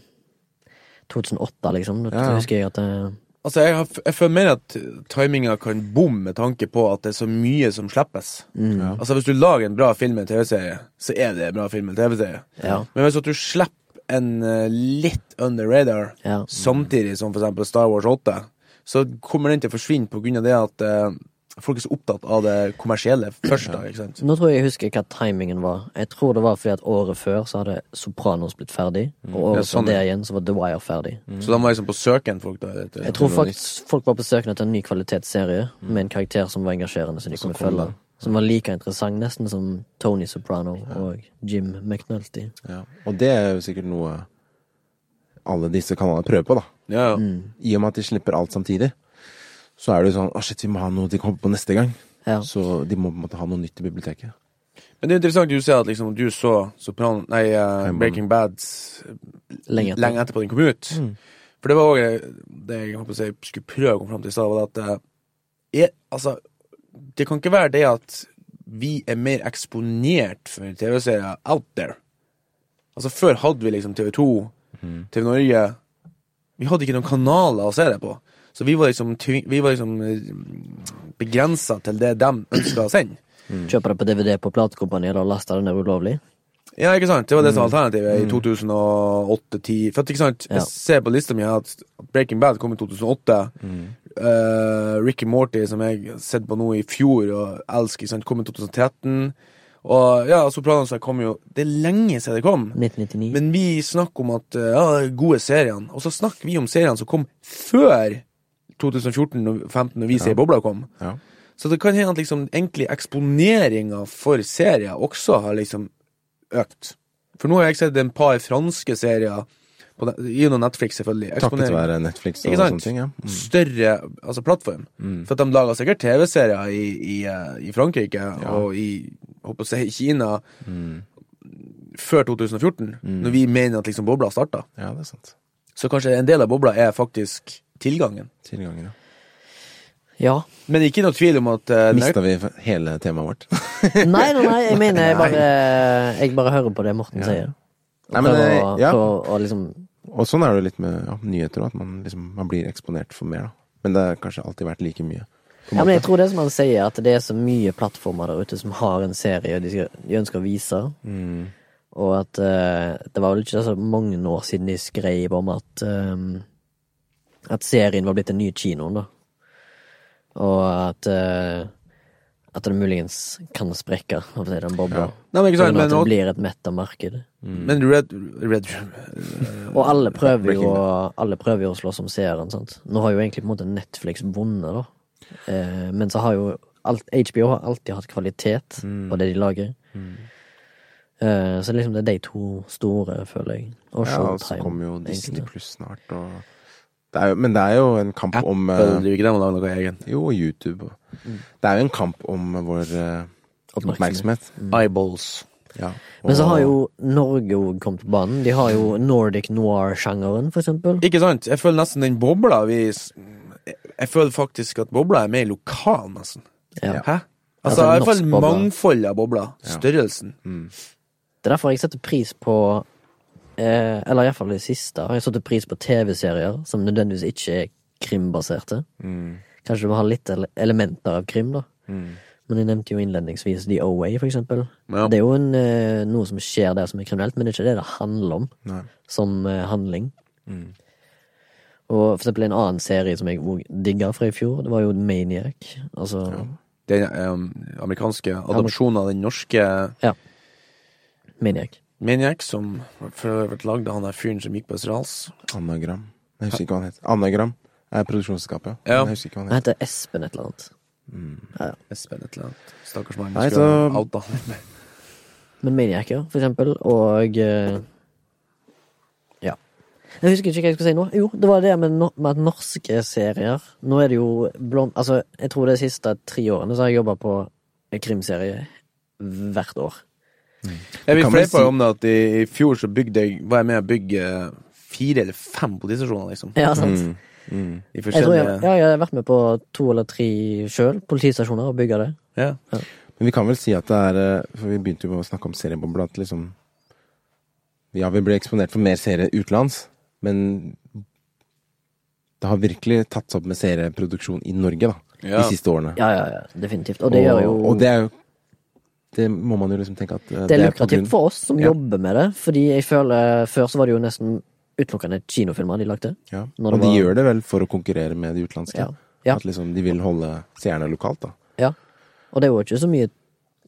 Speaker 3: 2008, liksom. Da
Speaker 1: Ja, ja.
Speaker 3: husker jeg at det-
Speaker 2: Altså, jeg, har, jeg føler mer at timinga kan bomme med tanke på at det er så mye som slippes.
Speaker 3: Mm.
Speaker 1: Ja.
Speaker 2: Altså, hvis du lager en bra film eller TV-serie, så er det en bra film eller TV-serie.
Speaker 3: Ja.
Speaker 2: Men hvis at du slipper en eh, litt under radar,
Speaker 3: Ja.
Speaker 2: samtidig som for eksempel Star Wars 8, så kommer den til å forsvinne på grunn av det at eh, folk er så opptatt av det kommersielle først, da, ikke sant?
Speaker 3: Nå tror jeg jeg husker hva timingen var. Jeg tror det var fordi at året før så hadde Sopranos blitt ferdig, og året
Speaker 2: Ja,
Speaker 3: før
Speaker 2: sånn,
Speaker 3: det
Speaker 2: ja.
Speaker 3: igjen så var The Wire ferdig.
Speaker 2: Så de var liksom på søken, folk, da. etter-
Speaker 3: Mm. Jeg tror
Speaker 1: det var
Speaker 3: faktisk folk var på søken etter en ny kvalitetsserie med en karakter som var engasjerende, som de
Speaker 1: Som
Speaker 3: kunne
Speaker 1: kom
Speaker 3: følge.
Speaker 1: da.
Speaker 3: Som var like interessant nesten som Tony Soprano og Jim McNulty.
Speaker 1: Ja. Og det er jo sikkert noe alle disse kanalene prøver på, da.
Speaker 2: Ja, ja.
Speaker 3: Mm.
Speaker 1: I og med at de slipper alt samtidig, så er det jo sånn Å, shit, vi må ha noe de kommer på neste gang.
Speaker 3: Ja.
Speaker 1: Så de må på en måte ha noe nytt i biblioteket.
Speaker 2: Men det er interessant du sier at liksom, du så Sopran, nei, eh, Breaking Bads
Speaker 3: Lenge etter. Mm.
Speaker 2: lenge etterpå den kom ut. For det var òg det jeg holdt på å si, skulle prøve å komme fram til i stad, var det at eh, er, altså, det kan ikke være det at vi er mer eksponert for TV-serier out there. Altså, før hadde vi liksom TV2,
Speaker 3: Mm.
Speaker 2: TV Norge Vi hadde ikke noen kanaler å se det på. Så vi var liksom, tvi- vi var liksom begrensa til det de ønska å sende.
Speaker 3: Kjøpe det på DVD på platekompaniet og laste det ned ulovlig.
Speaker 2: Ja, ikke sant? Det var det som var alternativet i 2008-10. For at, ikke sant,
Speaker 3: Ja.
Speaker 2: jeg ser på lista mi at Breaking Bad kom i 2008. Eh, Ricky Morty, som jeg har sett på nå i fjor og elsker, ikke sant, kom i 2013. Og ja, Sopranos kom jo Det er lenge siden det kom.
Speaker 3: 1999.
Speaker 2: Men vi snakker om at eh, ja, det er gode seriene, og så snakker vi om seriene som kom før 2014-2015, når vi ser bobla kom.
Speaker 1: Ja.
Speaker 2: Så det kan hende at liksom, egentlig eksponeringa for serier også har liksom økt. For nå har jeg sett en par franske serier, på ne- gjennom Netflix selvfølgelig.
Speaker 1: Takket
Speaker 2: Eksponering.
Speaker 1: være Netflix og
Speaker 2: Ikke sant?
Speaker 1: sånne ting. Ja. Mm.
Speaker 2: Større altså plattform. For at de lager sikkert TV-serier i, i, eh, i Frankrike og i håper å si, Kina
Speaker 1: Mm.
Speaker 2: før 2014, når vi mener at liksom bobla starta.
Speaker 1: ja, det er sant.
Speaker 2: Så kanskje en del av bobla er faktisk tilgangen.
Speaker 1: Tilgangen, ja.
Speaker 3: Ja.
Speaker 2: Men ikke noe tvil om at eh,
Speaker 1: Mista vi hele temaet vårt?
Speaker 3: Nei, nei, nei, jeg mener jeg bare, jeg bare hører på det Morten sier. Og
Speaker 1: Nei, men,
Speaker 3: prøver
Speaker 1: eh,
Speaker 3: å,
Speaker 1: ja.
Speaker 3: prøver å- å liksom
Speaker 1: Og sånn er det jo litt med ja, nyheter òg, at man, liksom, man blir eksponert for mer. Da. Men det har kanskje alltid vært like mye. på en
Speaker 3: Ja, men jeg
Speaker 1: måte.
Speaker 3: tror det som han sier, at det er så mye plattformer der ute som har en serie de, skal, de ønsker å vise.
Speaker 1: Mm.
Speaker 3: Og at eh, det var vel ikke så mange år siden de skrev om at eh, At serien var blitt den nye kinoen, da. Og at eh, At det muligens kan sprekke, om det er den bobla.
Speaker 2: Nei, men ikke sant,
Speaker 3: Sånn
Speaker 2: men
Speaker 3: at det
Speaker 2: nå-
Speaker 3: blir et metta marked.
Speaker 1: Mm.
Speaker 2: Men Red, Red
Speaker 3: Og alle prøver,
Speaker 1: Breaking
Speaker 3: jo, å- alle prøver jo å slåss om seeren, sant. Nå har jo egentlig på en måte Netflix vunnet, da. Eh, men så har jo alt, HBO har alltid hatt kvalitet
Speaker 1: Mm.
Speaker 3: på det de lager. Eh, så liksom det er de to store, føler jeg. Og
Speaker 1: Ja, og så
Speaker 3: Showtime.
Speaker 1: kommer jo
Speaker 3: egentlig.
Speaker 1: Disney Pluss snart, og det er jo, Men det er jo en kamp om
Speaker 2: Apple
Speaker 1: eh,
Speaker 2: driver ikke dem og lager noe egen.
Speaker 1: Jo, og YouTube og Det er jo en kamp om vår eh, oppmerksomhet.
Speaker 2: Eyeballs.
Speaker 1: Ja.
Speaker 3: Men så
Speaker 1: Og-
Speaker 3: har jo Norge òg kommet på banen. De har jo Nordic noir-sjangeren, for eksempel.
Speaker 2: Ikke sant? Jeg føler nesten den bobla vi s- Jeg jeg føler faktisk at bobla er mer lokal, nesten.
Speaker 3: Ja.
Speaker 2: Hæ?
Speaker 3: Altså,
Speaker 2: Altså, i hvert fall
Speaker 3: norsk bobla.
Speaker 2: mangfoldet av bobla. Størrelsen.
Speaker 1: Mm.
Speaker 3: Det er derfor jeg setter pris på eh, Eller iallfall det siste. Har jeg satt pris på TV-serier som nødvendigvis ikke er krimbaserte. Kanskje du må ha litt ele- elementer av krim, da. Men jeg nevnte jo innledningsvis The O-Way, for eksempel.
Speaker 2: Ja.
Speaker 3: Det er jo en, eh, noe som skjer der som er kriminelt, men det er ikke det det handler om
Speaker 1: Nei.
Speaker 3: som eh, handling. Og for eksempel en annen serie som jeg òg digga fra i fjor, det var jo Maniac. Altså
Speaker 2: Den eh, amerikanske adopsjonen av den norske
Speaker 3: Ja. Maniac.
Speaker 2: Maniac, som for øvrig ble lagd av han der fyren som gikk på Østerhals.
Speaker 1: Anagram. Jeg husker ikke hva han het. Anagram er produksjonsselskapet.
Speaker 2: Ja.
Speaker 1: Men Jeg husker ikke hva
Speaker 3: Den
Speaker 1: han het.
Speaker 3: heter Espen et eller annet.
Speaker 2: Espen et eller annet. Stakkars mann.
Speaker 1: Nei,
Speaker 2: skulle
Speaker 1: så-
Speaker 2: outa han.
Speaker 3: Men Maniac, ja, for eksempel. Og eh, Ja. Jeg husker ikke hva jeg skulle si nå. Jo, det var det med, no med at norske serier Nå er det jo blom... Altså, jeg tror de siste tre årene så har jeg jobba på en krimserie hvert år.
Speaker 2: Jeg vil
Speaker 1: Kan man
Speaker 2: fleipe
Speaker 1: si-
Speaker 2: om det at i, i fjor så bygde jeg, var jeg med å bygge eh, fire eller fem politistasjoner, liksom.
Speaker 1: Mm,
Speaker 3: Ja, sant?
Speaker 2: I
Speaker 3: Jeg tror
Speaker 2: forskjellige
Speaker 3: jeg, ja, jeg har vært med på to eller tre sjøl, politistasjoner, og bygga det.
Speaker 2: ja.
Speaker 1: Men Men vi kan vel si at det er eh, For vi begynte jo med å snakke om seriebobla. At liksom Ja, vi ble eksponert for mer serier utenlands, men det har virkelig tatt seg opp med serieproduksjon i Norge, da.
Speaker 2: Ja.
Speaker 1: De siste årene.
Speaker 3: Ja, ja, ja, definitivt. Og det gjør jo
Speaker 1: og det er jo Det må man jo liksom tenke at eh, på
Speaker 3: det er
Speaker 1: grunn-
Speaker 3: lukrativt for oss som
Speaker 1: Ja.
Speaker 3: jobber med det, fordi jeg føler Før så var det jo nesten utelukkende kinofilmer de lagde.
Speaker 1: Ja.
Speaker 3: Når
Speaker 1: Og
Speaker 3: det
Speaker 1: de
Speaker 3: var-
Speaker 1: gjør det vel for å konkurrere med de utenlandske.
Speaker 3: Ja. Ja.
Speaker 1: At liksom de vil holde seerne lokalt, da.
Speaker 3: Ja. Og det var jo ikke så mye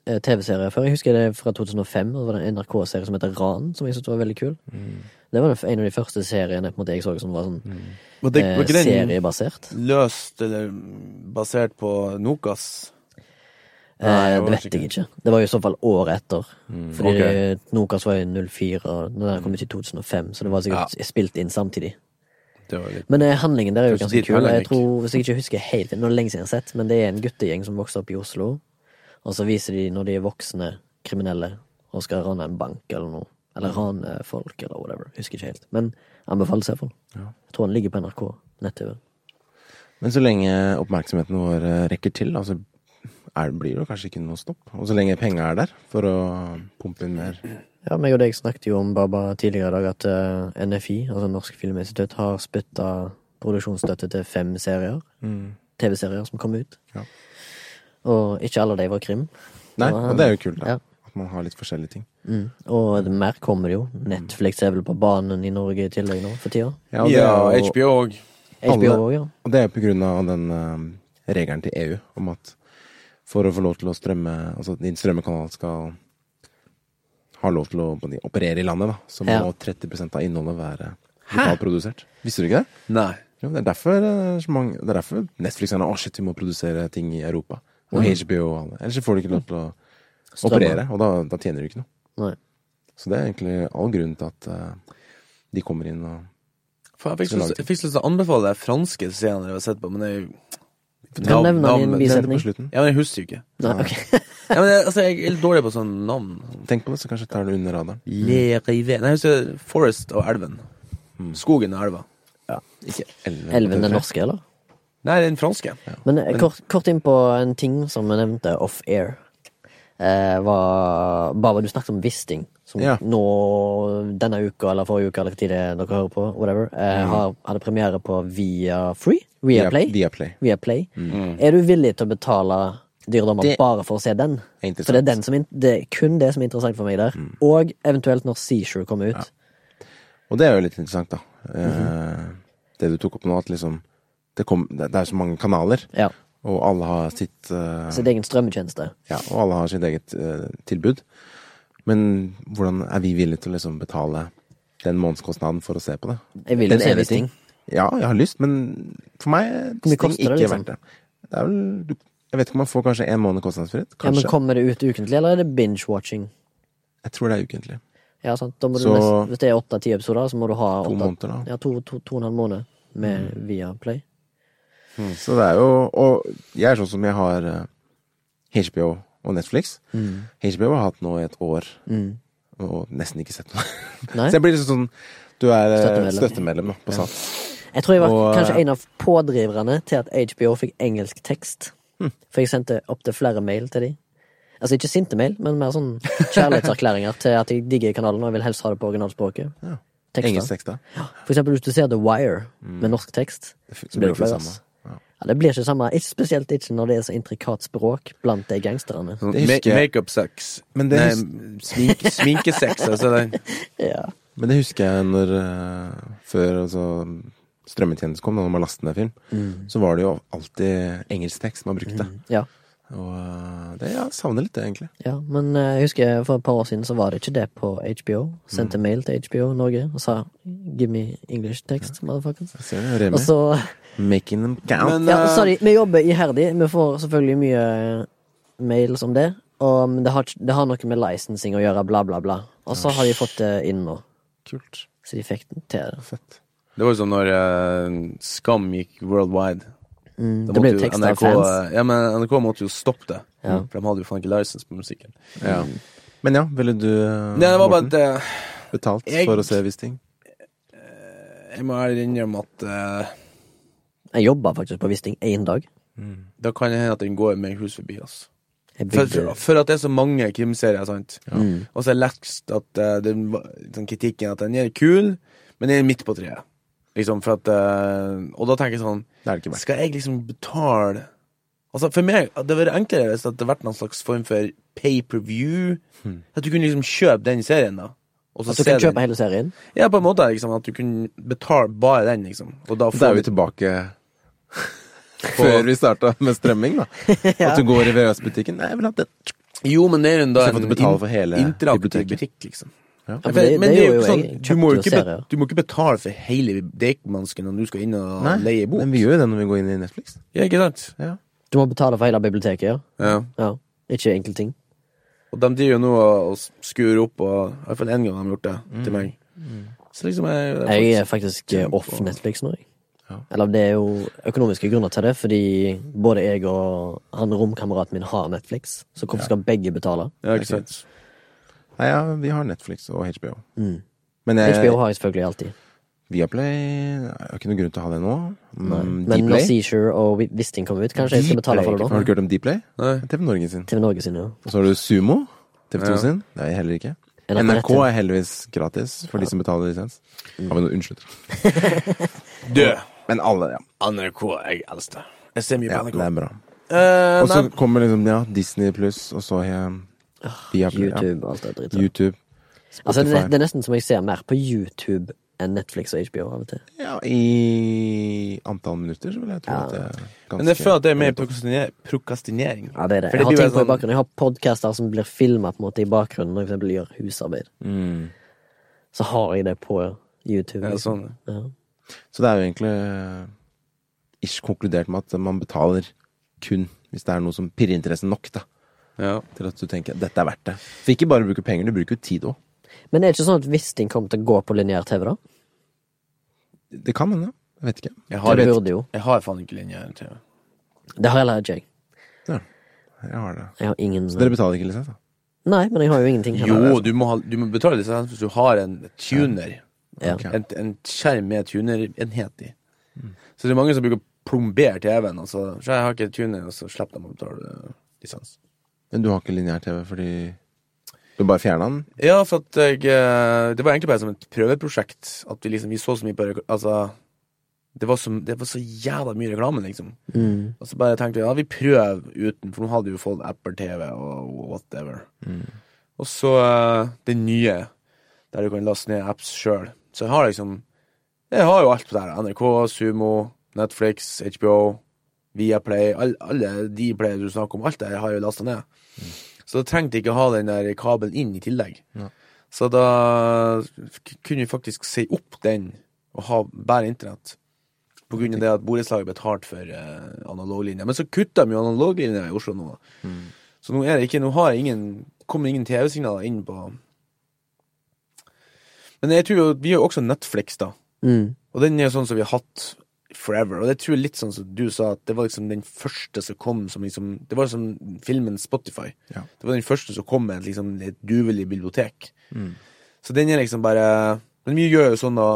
Speaker 3: eh, TV-serier før. Jeg husker det fra 2005. og Det var en NRK-serie som heter Ran, som jeg syntes var veldig kul.
Speaker 2: Mm.
Speaker 3: Det var den f- en av de første seriene på en måte, jeg så som var sånn
Speaker 2: Var Mm. det-
Speaker 3: eh,
Speaker 2: var ikke den-
Speaker 3: seriebasert.
Speaker 2: Løst eller basert på Nokas? Nei,
Speaker 3: Eh,
Speaker 2: det var
Speaker 3: det vet
Speaker 2: sikkert.
Speaker 3: jeg ikke. Det var jo i så fall året etter. Fordi
Speaker 2: ok.
Speaker 3: Nokas var i 04, og den der kom ut i 2005, så det var sikkert spilt inn samtidig.
Speaker 2: Det var litt
Speaker 3: Men eh, handlingen der er jo
Speaker 2: Kanskje
Speaker 3: ganske
Speaker 2: dit
Speaker 3: kul.
Speaker 2: heller
Speaker 3: Jeg
Speaker 2: gikk.
Speaker 3: tror, hvis jeg ikke husker helt det er noe lenge siden jeg har sett, men det er en guttegjeng som vokser opp i Oslo, og så viser de når de er voksne kriminelle og skal rane en bank eller noe. Eller rane folk, eller whatever. Husker ikke helt. Men anbefales iallfall.
Speaker 1: Ja.
Speaker 3: Jeg tror den ligger på NRK nett-TV.
Speaker 1: Men så lenge oppmerksomheten vår eh, rekker til, da, så er, blir det jo kanskje ikke noe stopp. Og så lenge penga er der for å pumpe inn mer.
Speaker 3: Ja, meg og deg snakket jo om Baba tidligere i dag at eh, NFI, altså Norsk Filminstitutt, har spytta produksjonsstøtte til fem serier. TV-serier som kom ut.
Speaker 1: Mm. Ja.
Speaker 3: Og ikke alle de var krim.
Speaker 1: Nei,
Speaker 3: Ja.
Speaker 1: og det er jo kult, da.
Speaker 3: Ja.
Speaker 1: At man har litt forskjellige ting.
Speaker 3: Mm. Og mer kommer det jo. Netflix er vel på banen i Norge i tillegg nå for tida.
Speaker 1: og det
Speaker 2: Ja,
Speaker 1: er jo-
Speaker 2: HBO òg.
Speaker 1: Alle-
Speaker 3: HBO òg, ja.
Speaker 1: Og det er jo på grunn av den eh, regelen til EU om at for å få lov til å strømme Altså at din strømmekanal skal ha lov til å på de, operere i landet, da. Så må
Speaker 3: Ja.
Speaker 1: 30 av innholdet være lokalprodusert. Visste du ikke det?
Speaker 2: Nei.
Speaker 1: Jo, det er derfor, eh, så mange, det er derfor Netflix er nå, Å, shit, vi må produsere ting i Europa. Og HBO og alle. Ellers så får du ikke lov til å
Speaker 3: Strømme.
Speaker 1: operere, og da, da tjener du ikke noe.
Speaker 3: Nei.
Speaker 1: Så det er egentlig all grunn til at eh, de kommer inn og
Speaker 2: Faen, jeg fikk
Speaker 1: Så
Speaker 2: så
Speaker 1: lang tid.
Speaker 2: lyst- jeg fikk så lyst til å anbefale det franske serien jeg har sett på, men jeg
Speaker 3: Du kan nevne den i en
Speaker 1: Nevn det
Speaker 3: bisetning.
Speaker 1: på slutten.
Speaker 2: Ja, men jeg husker jo ikke.
Speaker 3: Nei, ok.
Speaker 2: Ja, men jeg, altså, jeg er litt dårlig på sånne navn.
Speaker 1: Tenk på det, så kanskje tar det under radaren.
Speaker 2: Le Rivet Nei, jeg husker Forest og elven. Skogen og elva.
Speaker 1: Ikke elleve.
Speaker 3: Elven er norske, eller?
Speaker 2: Nei, den franske.
Speaker 3: Men eh, kort, kort inn på en ting som jeg nevnte off-air. Eh, var Baba, du snakket om Wisting, som
Speaker 1: Ja.
Speaker 3: nå denne uka eller forrige uke eller tid det dere hører på, whatever, eh, har, hadde premiere på Via Free? Via Play?
Speaker 1: Mm. Via Play. Mm.
Speaker 3: Via Play. Er du villig til å betale dyredommer
Speaker 1: Det-
Speaker 3: bare for å se den?
Speaker 1: er interessant. Mm.
Speaker 3: For det er, den som, in- det er kun det som er interessant for meg der. Og eventuelt når Seashore kommer ut.
Speaker 1: Og det er jo litt interessant, da. Eh, Det du tok opp nå, at liksom det, kom, det, det er så mange kanaler,
Speaker 3: Ja.
Speaker 1: og alle har sitt eh,
Speaker 3: Sin egen strømmetjeneste.
Speaker 1: Ja, og alle har sitt eget eh, tilbud. Men hvordan er vi villige til å liksom betale den månedskostnaden for å se på det?
Speaker 3: Jeg vil jo
Speaker 1: Den
Speaker 3: se
Speaker 1: ene
Speaker 3: Wisting.
Speaker 1: Ja, jeg har lyst, men for meg er
Speaker 3: Hvor mye
Speaker 1: ting
Speaker 3: koster det,
Speaker 1: ikke
Speaker 3: liksom?
Speaker 1: verdt det. Det er vel du, Jeg vet ikke om man får kanskje en måned kostnadsfritt.
Speaker 3: Ja, men
Speaker 1: Kanskje.
Speaker 3: kommer det ut ukentlig, eller er det binge-watching?
Speaker 1: jeg tror det er ukentlig.
Speaker 3: Ja, sant. Da må du
Speaker 1: Så-
Speaker 3: nesten, hvis det er åtte-ti episoder, så må du ha
Speaker 1: To
Speaker 3: åtte,
Speaker 1: måneder, da. Mm.
Speaker 3: Ja, to, to, to og en halv måned med Viaplay.
Speaker 1: Så det er jo Og jeg er sånn som jeg har eh, HBO og Netflix.
Speaker 3: Mm.
Speaker 1: HBO har jeg hatt nå i et år, og nesten ikke sett noe.
Speaker 3: Nei.
Speaker 1: Så jeg blir liksom sånn Du er eh,
Speaker 3: Støttemedlem.
Speaker 1: støttemedlem, da, på Sats.
Speaker 3: Jeg tror jeg var
Speaker 1: Og, eh,
Speaker 3: kanskje en av pådriverne til at HBO fikk engelsk tekst.
Speaker 1: Hm.
Speaker 3: For jeg sendte opptil flere mail til de. Altså ikke sinte mail, men mer sånn kjærlighetserklæringer til at jeg digger kanalen og jeg vil helst ha det på originalspråket.
Speaker 1: Ja.
Speaker 3: Tekster.
Speaker 1: Engelsk Mm. tekst, da.
Speaker 3: For eksempel hvis du ser The Wire med norsk tekst, så blir det flau, ass.
Speaker 1: Ja.
Speaker 3: Ja, det blir ikke det samme, ikke, spesielt ikke når det er så intrikat språk blant de gangsterne.
Speaker 2: Sånn
Speaker 1: Det husker jeg.
Speaker 2: Makeup-sex.
Speaker 1: Men det
Speaker 2: Nei,
Speaker 1: hus-
Speaker 2: smink, sminkesex. Altså, den.
Speaker 3: Ja.
Speaker 1: Men det husker jeg når eh, Før altså, strømmetjenesten kom, da når man lastet ned film, så var det jo alltid engelsk tekst man brukte.
Speaker 3: ja.
Speaker 1: Og eh, det jeg savner litt det, egentlig.
Speaker 3: Ja, men eh, jeg husker for et par år siden så var det ikke det på HBO.
Speaker 2: Mm.
Speaker 3: Sendte mail til HBO Norge og sa 'give me English text', motherfuckers.
Speaker 1: Jeg ser det, Remi.
Speaker 3: Og så
Speaker 1: Making them count.
Speaker 2: Men,
Speaker 3: Ja,
Speaker 2: eh,
Speaker 3: så sa de 'vi jobber iherdig', vi får selvfølgelig mye eh, mails om det. Og men det har, ikke- det har noe med licensing å gjøre, bla, bla, bla. Og så har de fått det inn nå.
Speaker 1: Kult.
Speaker 3: Så de fikk den til. det.
Speaker 1: Fett.
Speaker 2: Det var jo som når eh, Skam gikk worldwide. Da
Speaker 3: Mm, det ble
Speaker 2: måtte jo
Speaker 3: tekst av
Speaker 2: NRK eh,
Speaker 3: fans.
Speaker 2: Ja, men NRK måtte jo stoppe det. For de hadde jo faen ikke lisens på musikken.
Speaker 1: Ja. Men ja, ville du eh,
Speaker 2: Nei, det var bare
Speaker 1: Morten,
Speaker 2: at eh,
Speaker 1: betalt
Speaker 2: jeg-
Speaker 1: for å se visse ting?
Speaker 2: Jeg må ærlig innrømme at eh,
Speaker 3: Jeg jobba faktisk på Wisting én dag.
Speaker 2: da kan det hende at den går meg hus forbi, altså.
Speaker 3: Jeg
Speaker 2: For,
Speaker 3: bygde
Speaker 2: for at det er så mange krimserier, sant.
Speaker 3: Mm.
Speaker 2: Og så har jeg lest at eh, den, var- sånn kritikken at den er kul, men den er midt på treet. Liksom, for at eh, Og da tenker jeg sånn
Speaker 1: Det er det ikke verdt.
Speaker 2: Skal jeg liksom betale Altså For meg det hadde vært enklere hvis det hadde vært noen slags form for pay-per-view. At du kunne liksom kjøpe den serien, da. Og så
Speaker 3: Hmm. At Altså, du
Speaker 2: se
Speaker 3: kan
Speaker 2: den.
Speaker 3: kjøpe hele serien?
Speaker 2: Ja, på en måte. liksom At du kunne betale bare den, liksom. Og da
Speaker 1: Da
Speaker 2: får
Speaker 1: er vi
Speaker 2: du
Speaker 1: tilbake før vi starta med strømming, da. At du går i VØS-butikken. Nei, jeg vil ha den.
Speaker 2: Jo, men det er jo da
Speaker 1: Så får du betale for hele
Speaker 2: interaktiv
Speaker 1: biblioteket.
Speaker 2: butikk, liksom.
Speaker 3: Ja, for det,
Speaker 2: men
Speaker 3: det
Speaker 2: det
Speaker 3: gjorde jo
Speaker 2: sånn,
Speaker 3: jeg. Jeg
Speaker 2: du, må jo ikke,
Speaker 3: Kjøpte jo
Speaker 2: be-
Speaker 3: serier.
Speaker 2: du må ikke betale for hele Deichmansken når du skal inn og
Speaker 1: Nei,
Speaker 2: leie bok.
Speaker 1: Men vi gjør jo det når vi går inn i Netflix.
Speaker 2: Ja, ikke sant?
Speaker 3: Du må betale for hele biblioteket, ja.
Speaker 2: Ja.
Speaker 3: ja. Ikke enkle ting.
Speaker 2: Og de driver jo nå og og skrur opp, og i hvert fall én gang har de gjort det
Speaker 1: Mm.
Speaker 2: til meg. Så liksom jeg, jeg,
Speaker 3: Jeg er faktisk eh, off Netflix nå, jeg. Eller det er jo økonomiske grunner til det, fordi både jeg og han romkameraten min har Netflix. Så hvorfor skal begge betale?
Speaker 2: Ja, ikke sant.
Speaker 1: Nei, ja, vi har Netflix og HBO.
Speaker 3: Mm.
Speaker 1: Men jeg,
Speaker 3: HBO har jeg selvfølgelig alltid.
Speaker 1: Viaplay Jeg har ikke noen grunn til å ha det nå. Mm,
Speaker 3: Men når
Speaker 1: Dplay.
Speaker 3: Seizure og Wi- Wisting kommer ut, kanskje jeg skal betale for det
Speaker 1: Har du
Speaker 3: nå?
Speaker 1: ikke hørt om Dplay?
Speaker 2: Nei.
Speaker 1: TV Norge sin.
Speaker 3: TV Norge sine, ja.
Speaker 1: Og så har du Sumo. TV2
Speaker 2: Ja.
Speaker 1: sin. Det er jeg heller ikke.
Speaker 3: NRK
Speaker 1: NRK
Speaker 3: Nettet.
Speaker 1: er heldigvis gratis for de som betaler lisens.
Speaker 3: Mm.
Speaker 1: Har vi noe Unnskyld.
Speaker 2: Du,
Speaker 1: Men alle, ja.
Speaker 2: NRK, jeg elsker det. Jeg ser mye
Speaker 1: ja
Speaker 2: på
Speaker 1: det
Speaker 2: NRK.
Speaker 1: er bra.
Speaker 2: Eh,
Speaker 1: Og så
Speaker 2: nei,
Speaker 1: kommer liksom ja, Disney pluss, og så har jeg Viaplay. ja.
Speaker 3: Ah, YouTube og alt det dritt.
Speaker 1: YouTube.
Speaker 3: Altså, det,
Speaker 1: Spotify.
Speaker 3: det er nesten som jeg ser mer på YouTube enn Netflix og HBO av og til.
Speaker 1: Ja, I antall minutter så vil jeg tro
Speaker 3: Ja.
Speaker 1: at det er ganske
Speaker 2: men jeg føler at det er mer prokrastiner- prokrastinering.
Speaker 3: Ja, det er det.
Speaker 2: For
Speaker 3: Jeg har
Speaker 2: blir sånn-
Speaker 3: ting på
Speaker 2: jo
Speaker 3: i bakgrunnen. Jeg har podcaster som blir filma på en måte i bakgrunnen når jeg for eksempel gjør husarbeid.
Speaker 1: Mm.
Speaker 3: Så har jeg det på YouTube.
Speaker 2: Ja,
Speaker 3: Liksom.
Speaker 2: sånn.
Speaker 3: Ja.
Speaker 1: Så det er jo egentlig eh, ish konkludert med at man betaler kun hvis det er noe som pirrer interessen nok, da.
Speaker 2: Ja.
Speaker 1: Til at du tenker dette er verdt det. For ikke bare bruker penger, du bruker jo tid òg.
Speaker 3: Men er det ikke sånn at Wisting kommer til å gå på lineær TV, da?
Speaker 1: Det kan hende. Jeg vet ikke.
Speaker 2: Jeg,
Speaker 3: Det
Speaker 2: har et,
Speaker 3: burde jo.
Speaker 2: jeg har faen ikke linje her. til.
Speaker 3: Det har heller ikke jeg.
Speaker 1: Jeg har det.
Speaker 3: Jeg har ingen
Speaker 1: Så dere betaler ikke lisens, da?
Speaker 3: Nei, men jeg har jo ingenting heller.
Speaker 2: Jo, du må, ha, du må betale lisens hvis du har en tuner.
Speaker 3: Ja.
Speaker 1: Ok.
Speaker 2: En, en skjerm med tunerenhet i. Så det er mange som bruker å plombere TV-en. Og altså. så, så jeg har ikke tuner, og så slipper de å betale eh, lisens.
Speaker 1: Men du har ikke lineær-TV fordi du bare fjerna den?
Speaker 2: Ja, for at jeg eh, Det var egentlig bare som et prøveprosjekt. At vi liksom Vi så så mye på rekl- Altså det var, så, det var så jævla mye reklame, liksom.
Speaker 3: Mm.
Speaker 2: Og så bare tenkte vi ja, vi prøver uten, for nå hadde vi jo fått Apple TV og whatever. Og så eh, den nye, der du kan laste ned apps sjøl. Så jeg har liksom Jeg har jo alt på der. NRK, Sumo, Netflix, HBO, Viaplay. All, alle de playene du snakker om, alt det har jeg jo lasta ned. Så da trengte jeg ikke ha den der kabelen inn i tillegg.
Speaker 1: Ja.
Speaker 2: Så da k- kunne vi faktisk si opp den og ha bare internett. På grunn av det at borettslaget betalte for eh, analoglinja. Men så kutta de jo analoglinja i Oslo nå. Så nå er det ikke Nå har jeg ingen, kommer ingen TV-signaler inn på Men jeg tror jo Vi har jo også Netflix, da.
Speaker 3: Mm.
Speaker 2: Og den er jo sånn som vi har hatt forever. Og det tror jeg litt sånn som du sa, at det var liksom den første som kom som liksom Det var som filmen Spotify.
Speaker 1: Ja.
Speaker 2: Det var den første som kom med et, liksom, et duvelig bibliotek. Så den er liksom bare Men vi gjør jo sånn, da,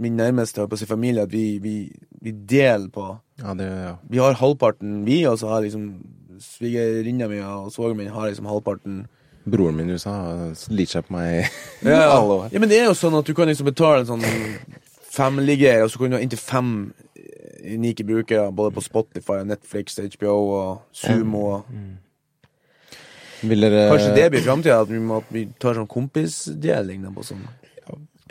Speaker 2: min nærmeste holdt på å si, familie, at vi, vi, vi deler på
Speaker 1: Ja, det ja.
Speaker 2: Vi har halvparten, vi, og så har liksom svigerinna mi og svogeren min har liksom halvparten.
Speaker 1: Broren min i USA sliter seg på meg
Speaker 2: Ja,
Speaker 1: alle år.
Speaker 2: ja, men det er jo sånn at du kan liksom betale en sånn family-greie, og så kan du ha inntil fem eh, unike brukere, både på Spotify, og Netflix, HBO og Sumo. og-
Speaker 1: Vil dere
Speaker 2: Kanskje det blir framtida, at vi, må, at vi tar sånn kompisdeling da, på sånn.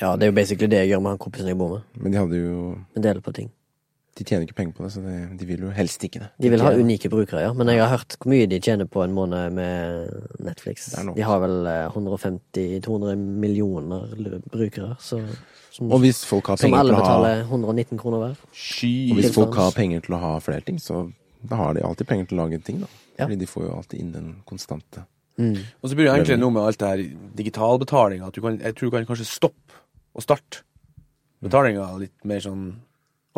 Speaker 3: Ja, det er jo basically det jeg gjør med han kompisen jeg bor med.
Speaker 1: Men de hadde jo
Speaker 3: En del på ting.
Speaker 1: De tjener ikke penger på det, så de, de vil jo helst ikke det.
Speaker 3: De vil ha
Speaker 1: Ikke-
Speaker 3: unike brukere, ja. Men jeg har hørt hvor mye de tjener på en måned med Netflix.
Speaker 1: er nok.
Speaker 3: De har vel eh, 150-200 millioner l- brukere, så, som,
Speaker 1: Og hvis folk har
Speaker 3: som
Speaker 1: penger
Speaker 3: alle
Speaker 1: til å ha
Speaker 3: betaler 119 kroner hver.
Speaker 1: Og
Speaker 2: Sky
Speaker 1: hvis folk har penger til å ha flere ting, så da har de alltid penger til å lage ting, da.
Speaker 3: Ja.
Speaker 1: Fordi de får jo alltid inn den konstante
Speaker 2: Og så blir det egentlig noe med alt det her digitalbetalinga, at du kan, jeg tror du kan kanskje stoppe og starte betalinga litt mer sånn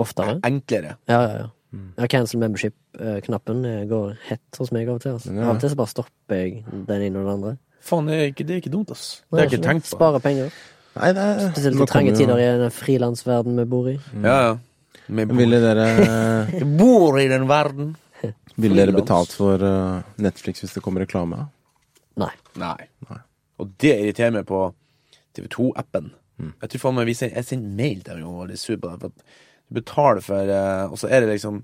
Speaker 3: Oftere.
Speaker 2: enklere.
Speaker 3: Ja, ja, ja.
Speaker 2: Mm.
Speaker 3: Ja, cancel membership-knappen eh, går hett hos meg av og til. Altså.
Speaker 1: Den gjør
Speaker 3: Av og til så bare stopper jeg den ene og den andre.
Speaker 2: Faen, det er ikke, det er ikke dumt, ass. Det
Speaker 3: Nei,
Speaker 2: har jeg ikke
Speaker 3: skjønner.
Speaker 2: tenkt på.
Speaker 3: Sparer penger.
Speaker 1: Nei, det er
Speaker 3: Spesielt
Speaker 1: Nå
Speaker 3: i
Speaker 1: kommer
Speaker 3: trange
Speaker 1: jo-
Speaker 3: tider i den frilansverdenen vi bor i.
Speaker 2: Ja, ja. Men
Speaker 1: Ville dere
Speaker 2: Jeg bor i den verden.
Speaker 1: Ville dere
Speaker 2: Frilans.
Speaker 1: betalt for eh, Netflix hvis det kom reklame?
Speaker 3: Nei.
Speaker 2: Nei.
Speaker 1: Nei.
Speaker 2: Og det irriterer meg på TV2-appen.
Speaker 1: Mm.
Speaker 2: Jeg tror faen meg vi sender, jeg sender mail til dem og var litt sur på det. For at du betaler for eh, Og så er det liksom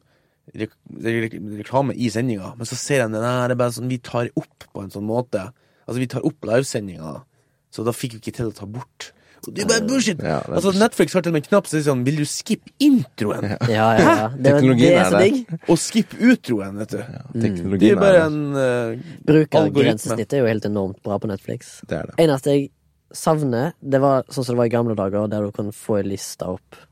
Speaker 2: rek rek reklame i sendinga, men så ser jeg den her, det er bare sånn Vi tar opp på en sånn måte. Altså, vi tar opp livesendinga, da. så da fikk vi ikke til å ta bort. Og det er bare bullshit!
Speaker 1: Ja, det er
Speaker 2: altså,
Speaker 1: bullshit.
Speaker 2: Netflix har til og med en knapp som sier sånn Vil du skippe introen?
Speaker 3: Ja, ja, ja. Det, er-
Speaker 1: Teknologien
Speaker 3: det
Speaker 1: er
Speaker 3: er så
Speaker 1: der.
Speaker 3: digg.
Speaker 2: Og skippe utroen, vet du.
Speaker 3: Mm.
Speaker 1: Teknologien
Speaker 2: Det er bare
Speaker 1: der.
Speaker 2: en eh,
Speaker 3: Brukergrensesnittet er jo helt enormt bra på Netflix.
Speaker 1: Det er det.
Speaker 3: Eneste jeg savner, det var sånn som det var i gamle dager, der du kan få ei liste opp.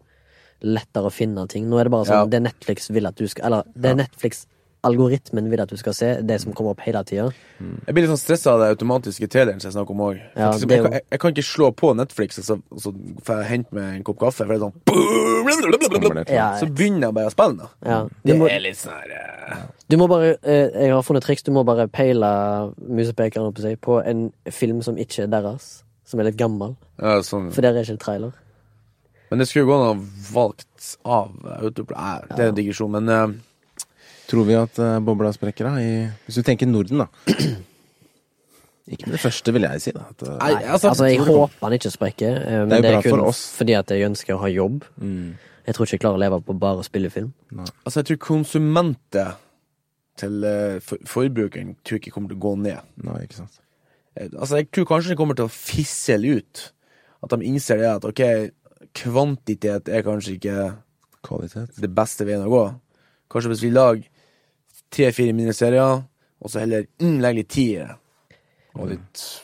Speaker 3: Lettere å finne ting. Nå er det bare sånn
Speaker 2: Ja.
Speaker 3: det Netflix vil at du skal Eller det Netflix-algoritmen vil at du skal se, det som kommer opp hele tida.
Speaker 2: Jeg blir litt sånn stressa av det automatiske traileren som jeg snakker om òg.
Speaker 3: Ja,
Speaker 2: jeg,
Speaker 3: det er jo-
Speaker 2: kan- jeg kan ikke slå på Netflix og så, og så får jeg hente meg en kopp kaffe, for det er sånn boom,
Speaker 1: Kommer det til.
Speaker 3: Ja,
Speaker 2: Så begynner jeg bare å spille, da.
Speaker 3: ja. Du,
Speaker 2: Det
Speaker 3: må,
Speaker 2: er litt sånn her eh,
Speaker 3: du må bare eh, Jeg har funnet triks. Du må bare peile musepekeren holdt på å si, på en film som ikke er deres. Som er litt gammel.
Speaker 2: ja, sånn.
Speaker 3: For der er ikke en trailer.
Speaker 2: Men det skulle jo gå an å ha valgt av autoplan Nei, Det er en digresjon, men eh,
Speaker 1: Tror vi at eh, bobla sprekker, da? I, hvis du tenker Norden, da. Ikke med det første, vil jeg si. da at, eh,
Speaker 2: Nei,
Speaker 3: Nei,
Speaker 2: altså,
Speaker 3: altså, jeg
Speaker 2: jeg tror
Speaker 3: håper han ikke sprekker. eh, Men
Speaker 1: Det er jo
Speaker 3: det er,
Speaker 1: bra
Speaker 3: kun
Speaker 1: for oss. Mm.
Speaker 3: fordi at jeg ønsker å ha jobb. Jeg tror ikke jeg klarer å leve på bare å spille film.
Speaker 2: altså, jeg tror konsumentet til eh, for, forbrukeren tror ikke kommer til å gå ned.
Speaker 1: Nei, ikke sant.
Speaker 2: Eh, Altså, jeg tror kanskje det kommer til å fissele ut. At de innser det at ok, kvantitet er kanskje ikke
Speaker 1: Kvalitet.
Speaker 2: det beste veien å gå. Kanskje hvis vi lager tre-fire mindre serier, og så heller mm, legger litt tid i det. Og litt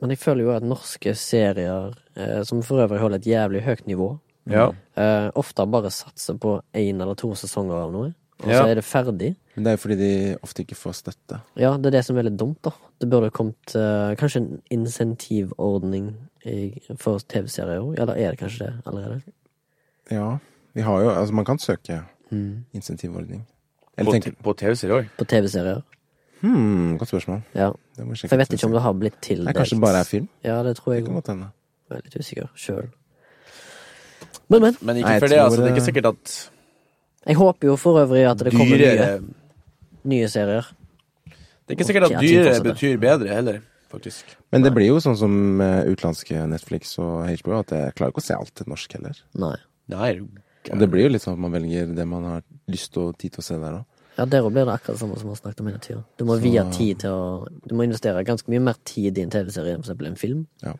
Speaker 3: Men jeg føler jo at norske serier, eh, som for øvrig holder et jævlig høyt nivå,
Speaker 2: Mm. Ja.
Speaker 3: eh, ofte bare satser på én eller to sesonger av noe, og
Speaker 2: Ja.
Speaker 3: så er det ferdig.
Speaker 1: Men det er jo fordi de ofte ikke får støtte.
Speaker 3: Ja, det er det som er litt dumt, da. Det burde kommet eh, kanskje en insentivordning i, for TV-serier òg, eller er det kanskje det allerede?
Speaker 1: Ja, vi har jo Altså, man kan søke
Speaker 3: Mm.
Speaker 1: insentivordning. Eller
Speaker 2: På,
Speaker 1: tenker
Speaker 2: på TV-serier òg.
Speaker 3: På TV-serier.
Speaker 1: hmm, Godt spørsmål.
Speaker 3: Ja.
Speaker 1: Det må vi sjekke
Speaker 3: For jeg
Speaker 1: ut.
Speaker 3: vet ikke om det har blitt tildelt.
Speaker 1: Nei, kanskje det bare er film?
Speaker 3: Ja, det tror
Speaker 1: Det
Speaker 3: jeg
Speaker 1: kan godt hende.
Speaker 3: Jeg er litt usikker sjøl. Men, men.
Speaker 2: Men ikke
Speaker 1: Nei, jeg
Speaker 2: for det,
Speaker 1: tror
Speaker 2: altså. Det er ikke
Speaker 1: det-
Speaker 2: sikkert at
Speaker 3: Jeg håper jo for øvrig at det kommer nye,
Speaker 2: dyrere
Speaker 3: nye serier.
Speaker 2: Det er ikke sikkert at
Speaker 3: Ok, jeg
Speaker 2: dyrere
Speaker 3: tenker også
Speaker 2: betyr bedre heller, faktisk.
Speaker 1: Men det blir jo sånn som eh, utenlandske Netflix og HBO, at jeg klarer ikke å se alt til norsk heller.
Speaker 3: Nei.
Speaker 2: Nei, det er jo-
Speaker 1: Og det blir jo litt sånn at man velger det man har lyst og tid til å se der òg.
Speaker 3: Ja, der òg blir det akkurat det samme som vi har snakket om hele tida. Du må vie tid til å Du må investere ganske mye mer tid i en TV-serie enn for eksempel en film.
Speaker 1: Og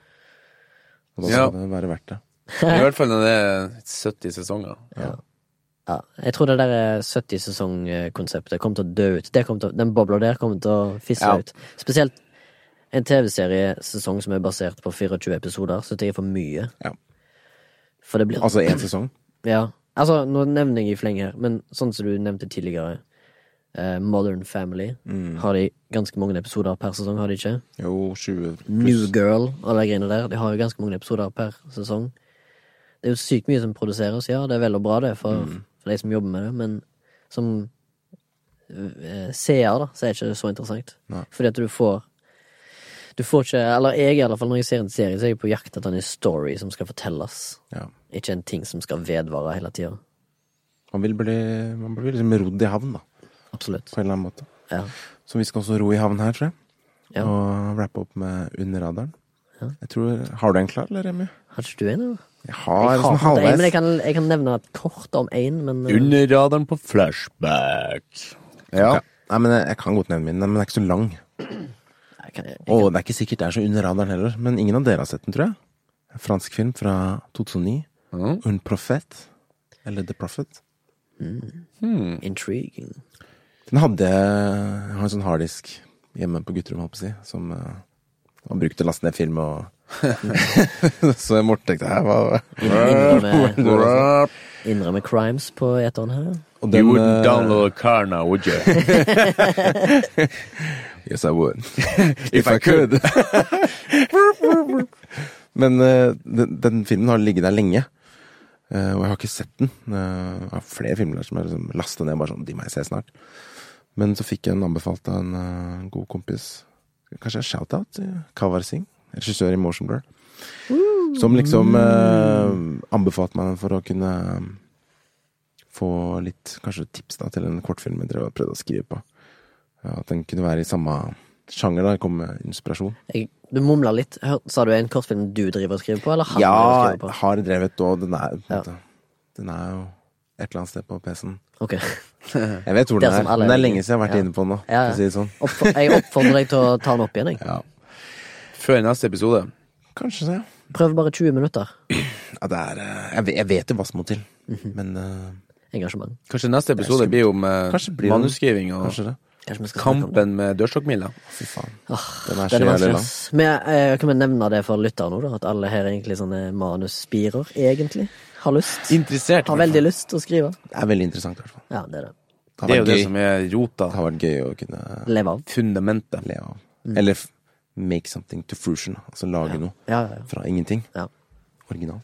Speaker 1: da skal
Speaker 2: Ja.
Speaker 1: det være verdt det.
Speaker 2: I hvert fall når det er 70 sesonger.
Speaker 3: Ja, jeg tror det der 70-sesongkonseptet kommer til å dø ut. Det kommer til, å- den bobla der kommer til å fisse
Speaker 2: Ja.
Speaker 3: ut. Spesielt en TV-seriesesong som er basert på 24 episoder, syns jeg er for mye.
Speaker 1: Ja.
Speaker 3: For det blir
Speaker 1: Altså én sesong.
Speaker 3: Ja. Altså, nå nevner jeg i fleng her, men sånn som du nevnte tidligere, eh, Modern Family
Speaker 1: Mm.
Speaker 3: har de ganske mange episoder per sesong, har de ikke?
Speaker 1: Jo, 20
Speaker 3: New
Speaker 1: pluss.
Speaker 3: Girl og alle de greiene der, de har jo ganske mange episoder per sesong. Det er jo sykt mye som produseres, ja, det er vel og bra det for,
Speaker 1: Mm.
Speaker 3: for de som jobber med det, men som eh, seer, da, så er ikke det så interessant.
Speaker 1: Nei.
Speaker 3: Fordi at du får Du får ikke Eller jeg, i alle fall, når jeg ser en serie, så er jeg på jakt etter en story som skal fortelles,
Speaker 1: Ja.
Speaker 3: ikke en ting som skal vedvare hele tida.
Speaker 1: Man, vil bli, man blir liksom rodd i havn, da.
Speaker 3: Absolutt.
Speaker 1: På en eller annen måte.
Speaker 3: Ja.
Speaker 1: Så vi skal også ro i havn her, tror jeg.
Speaker 3: Ja.
Speaker 1: Og rappe opp med Under radaren. Jeg tror, Har du en klar, eller, Remi?
Speaker 3: Har ikke du en? eller?
Speaker 1: Jeg har,
Speaker 3: jeg,
Speaker 1: sånn
Speaker 3: har fått en, men
Speaker 1: halvveis.
Speaker 3: jeg, kan, jeg kan nevne et kort om én, men eh,
Speaker 2: Under radaren på flashback. Ja.
Speaker 1: Ja. Nei, men jeg, jeg kan godt nevne min, men den er ikke så lang.
Speaker 3: jeg kan, jeg,
Speaker 1: Og det er ikke sikkert det er så under radaren heller, men ingen av dere har sett den, tror jeg. En fransk film fra 2009.
Speaker 2: Mhm.
Speaker 1: Un Prophet. Eller The Prophet.
Speaker 3: Intriguing.
Speaker 1: Den hadde Jeg har en sånn harddisk hjemme på gutterom, holdt på å si, som eh, man brukte å laste ned film og Så Morten tenkte jeg, hva
Speaker 3: Innrømme, innrømme crimes på eteren her.
Speaker 1: Og
Speaker 2: You
Speaker 1: eh,
Speaker 2: wouldn't download a car now, would you?
Speaker 1: Yes, I would. If I could. Men eh, den, den filmen har ligget der lenge. eh, og jeg har ikke sett den. Eh, jeg har flere filmer som jeg liksom lasta ned bare sånn De må jeg se snart. Men så fikk jeg den anbefalt av en eh, god kompis. Kanskje en shout-out til Kavar Singh, regissør i Motion Blur. Som liksom eh, anbefalte meg den for å kunne eh, få litt kanskje tips da, til en kortfilm jeg drev og prøvde å skrive på. Ja, at den kunne være i samme sjanger. da, Komme med inspirasjon.
Speaker 3: Jeg, du mumla litt. Hør, sa du en kortfilm du driver og skriver på, eller han
Speaker 1: Ja,
Speaker 3: driver og skriver på?
Speaker 1: har drevet, og den er, på en
Speaker 3: Ja.
Speaker 1: måte, den er jo et eller annet sted på PC-en.
Speaker 3: Ok.
Speaker 1: Jeg vet hvor
Speaker 3: Det
Speaker 1: den er,
Speaker 3: er som alle
Speaker 1: men det er
Speaker 3: er
Speaker 1: lenge siden jeg har vært
Speaker 3: Ja.
Speaker 1: inne på den nå.
Speaker 3: Ja,
Speaker 1: For å si det sånn.
Speaker 3: Oppf- jeg oppfordrer deg til å ta den opp igjen. Jeg.
Speaker 1: Ja,
Speaker 2: Før neste episode.
Speaker 1: kanskje det.
Speaker 3: Prøv bare 20 minutter.
Speaker 1: Ja, det er, eh, jeg, vet, jeg vet jo hva som må til,
Speaker 3: Mhm.
Speaker 1: men eh,
Speaker 3: Engasjement.
Speaker 2: Kanskje neste episode blir om eh,
Speaker 1: Kanskje blir det-
Speaker 2: manuskriving og
Speaker 1: kanskje det.
Speaker 3: Kanskje vi skal snakke om det.
Speaker 2: kampen med dørstokkmila.
Speaker 1: Fy faen.
Speaker 3: Åh,
Speaker 1: Den er så
Speaker 3: Den er
Speaker 1: jævlig
Speaker 3: vanskelig.
Speaker 1: lang.
Speaker 3: ass. Men jeg, jeg kan vel nevne det for lytterne nå, da, at alle her er egentlig sånne manusspirer, egentlig. Har lyst.
Speaker 2: Interessert.
Speaker 3: Har veldig lyst til å skrive.
Speaker 1: Det er veldig interessant, i hvert fall.
Speaker 3: Ja, det er det.
Speaker 1: Det har
Speaker 2: Det er jo
Speaker 1: vært
Speaker 2: det
Speaker 1: gøy.
Speaker 2: som er rota.
Speaker 1: Det har vært gøy å kunne
Speaker 3: Leve av.
Speaker 2: Fundamentet.
Speaker 1: leve av. Eller f- make something to fruition. Altså lage noe
Speaker 3: Mm. Ja, ja, ja.
Speaker 1: fra ingenting.
Speaker 3: Ja.
Speaker 1: Originalt.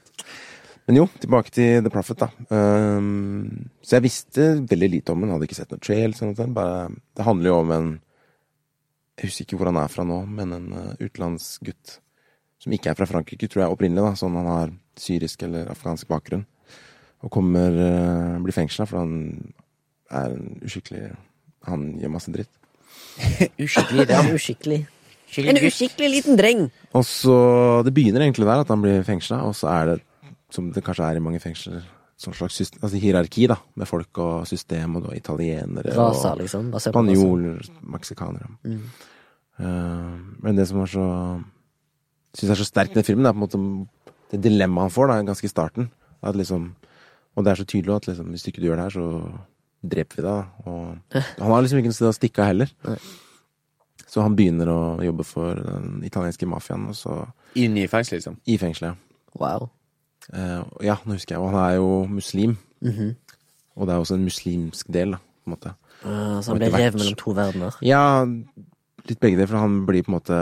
Speaker 1: Men jo, tilbake til The Prophet, da. Ehm, så jeg visste veldig lite om den, hadde ikke sett noe trail. Sånn, sånn, bare, det handler jo om en Jeg husker ikke hvor han er fra nå, men en eh, utenlandsgutt som ikke er fra Frankrike, tror jeg opprinnelig. da, Sånn han har syrisk eller afghansk bakgrunn. Og kommer eh, blir fengsla, for han er en uskikkelig Han gjør masse dritt.
Speaker 3: Uskikkelig. Ja, uskikkelig. En uskikkelig liten dreng!
Speaker 1: Og så, Det begynner egentlig der, at han blir fengsla, og så er det, som det kanskje er i mange fengsler, sånn slags syst- altså hierarki, da, med folk og system, og du har italienere
Speaker 3: Raser,
Speaker 1: og
Speaker 3: liksom. Basert på rase.
Speaker 1: spanjoler, meksikanere Eh, Men det som var så Syns jeg er så sterkt i den filmen, er på en måte det dilemmaet han får da, ganske i starten. At liksom, og det er så tydelig at liksom, hvis du ikke gjør det her, så dreper vi deg. da. Og han har liksom ikke noe sted å stikke av heller. Så han begynner å jobbe for den italienske mafiaen, og så
Speaker 2: Inn i fengsel, liksom.
Speaker 1: i fengselet.
Speaker 3: Wow.
Speaker 1: Eh, og ja, nå husker jeg. Og han er jo muslim. Og det er også en muslimsk del, da, på en måte.
Speaker 3: Ah,
Speaker 1: Og
Speaker 3: så han ble
Speaker 1: etter hvert-
Speaker 3: revet mellom to verdener.
Speaker 1: Ja, litt begge deler, for han blir på en måte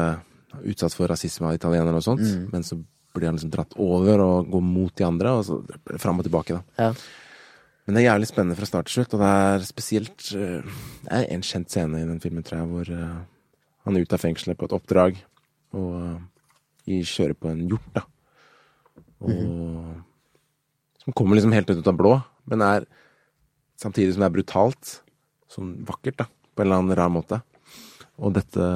Speaker 1: utsatt for rasisme av italienere og sånt. Men så blir han liksom dratt over og går mot de andre, og så fram og tilbake, da.
Speaker 3: Ja.
Speaker 1: Men det er jævlig spennende fra start til slutt, og det er spesielt eh, Det er en kjent scene i den filmen, tror jeg, hvor eh, han er ute av fengselet på et oppdrag, og eh, de kjører på en hjort, da. Og
Speaker 3: Mhm.
Speaker 1: Som kommer liksom helt ut av blå, men er samtidig som det er brutalt, sånn vakkert, da, på en eller annen rar måte. Og dette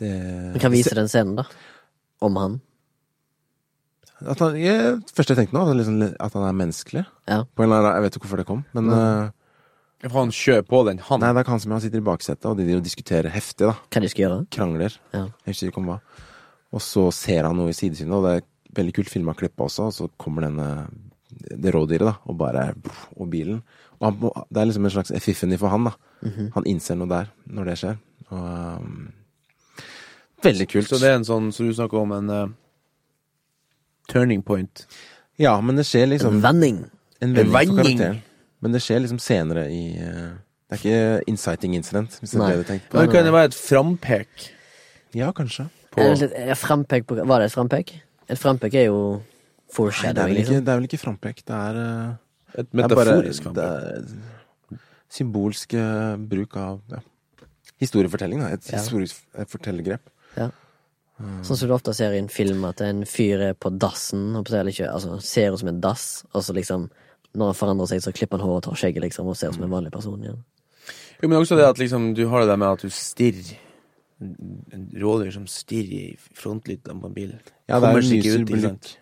Speaker 1: det,
Speaker 3: Vi kan vise den scenen, da. Om han.
Speaker 1: At han, jeg, første jeg tenkte nå, at han, liksom, at han er menneskelig.
Speaker 3: Ja.
Speaker 1: På en eller annen, jeg vet ikke hvorfor det kom, men eh,
Speaker 2: Han kjører på den, han.
Speaker 1: Nei, det er ikke han som er, han sitter i baksetet, og de driver og diskuterer heftig, da.
Speaker 3: Hva de skal gjøre.
Speaker 1: Krangler.
Speaker 3: Ja.
Speaker 1: Jeg husker ikke om hva. Og så ser han noe i sidesynet, og det er veldig kult filma klippet også, og så kommer denne det rådyret, da, og bare Og bilen. Og han, må- det er liksom en slags epiphany for han, da. Han innser noe der, når det skjer. Og um, Veldig kult.
Speaker 2: Så det er en sånn, så du snakker om en eh, turning point.
Speaker 1: Ja, men det skjer liksom
Speaker 3: sånn Vending.
Speaker 1: En vending for
Speaker 2: vending.
Speaker 1: karakteren. Men det skjer liksom senere i eh, Det er ikke inciting incident, hvis det er
Speaker 3: Nei.
Speaker 1: det du tenkte på.
Speaker 2: Men det kan jo være et frampek.
Speaker 1: Ja, kanskje.
Speaker 2: På,
Speaker 3: Er det et- er Eh, frampek på, var det et frampek? Et frampek er jo
Speaker 1: Nei, det er sånn.
Speaker 3: foreshadowing,
Speaker 1: vel ikke,
Speaker 3: liksom.
Speaker 1: det er vel ikke frampek. Det er eh,
Speaker 2: et
Speaker 1: Det er bare-
Speaker 2: metaforisk
Speaker 1: Det
Speaker 2: frampek.
Speaker 1: er symbolsk eh, bruk av ja. historiefortelling, da. Et
Speaker 3: Ja.
Speaker 1: historisk et fortellergrep.
Speaker 3: liksom.
Speaker 1: Mm.
Speaker 3: Sånn som du ofte ser i en film, at en fyr er på dassen, og på seg, eller ikke, altså, ser ut som en dass, og så liksom når han forandrer seg, så klipper han håret og tar skjegget, liksom, og ser ut som
Speaker 1: Mm.
Speaker 3: en vanlig person igjen.
Speaker 2: Jo, men også det at liksom, du har det der med at du stirrer. En- En rådyr som stirrer i frontlyktene på en bil.
Speaker 1: Ja, det er
Speaker 2: Kommer
Speaker 1: mye
Speaker 2: seg ikke ut, ikke
Speaker 1: symbolikk.
Speaker 2: sant?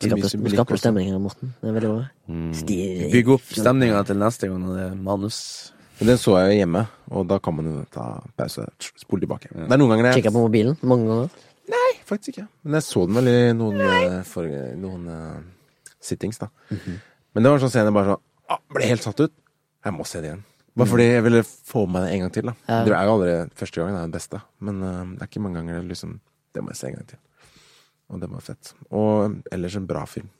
Speaker 1: Det er mye
Speaker 3: Skaper,
Speaker 1: symbolikk
Speaker 3: skaper
Speaker 1: også.
Speaker 3: stemning her, Morten. Det er veldig bra.
Speaker 2: Mm.
Speaker 3: eh, Stirring.
Speaker 2: Bygg opp stemninga til neste gang når det er manus.
Speaker 1: Men den så jeg jo hjemme, og da kan man jo ta pause. tsk, Spole tilbake. Det er noen ganger jeg
Speaker 3: Kikker på mobilen mange ganger.
Speaker 1: Nei, faktisk ikke. Men jeg så den vel i noen, eh, forrige- noen eh, sittings, da. Men det var en sånn scene jeg bare sånn ah, Ble helt satt ut. Jeg må se det igjen. Bare fordi jeg ville få med det en gang til. da
Speaker 3: Ja.
Speaker 1: Det er jo aldri første gangen, det er den beste. Men eh, det er ikke mange ganger det liksom Det må jeg se en gang til. Og det var fett. Og eh, ellers en bra film.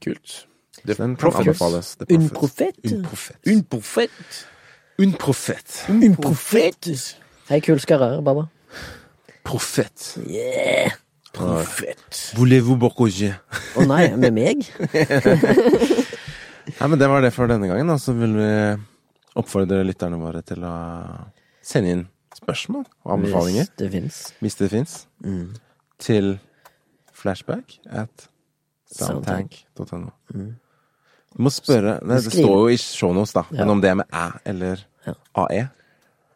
Speaker 2: Kult.
Speaker 1: Så den kan
Speaker 2: Prophet.
Speaker 1: anbefales. The
Speaker 3: Un
Speaker 1: Prophet.
Speaker 3: Prophet.
Speaker 1: Un Prophet.
Speaker 2: Un profet.
Speaker 1: Un Prophet.
Speaker 2: Un profet.
Speaker 3: Hei, kul skarrer, Baba.
Speaker 1: Profet.
Speaker 3: Yeah!
Speaker 2: Profet.
Speaker 1: Voulez-vous borgogne?
Speaker 3: Å nei, med meg?
Speaker 1: Nei, men det var det for denne gangen. Og så vil vi oppfordre lytterne våre til å sende inn spørsmål og anbefalinger,
Speaker 3: Hvis det fins.
Speaker 1: hvis det fins,
Speaker 3: Mm.
Speaker 1: til flashback at soundtank.no. Du må spørre Nei, Det
Speaker 3: Mm. Skriv.
Speaker 1: står jo i shownotes, da. Men
Speaker 3: Ja.
Speaker 1: om det er med æ eller e,
Speaker 3: Ja.
Speaker 1: ae,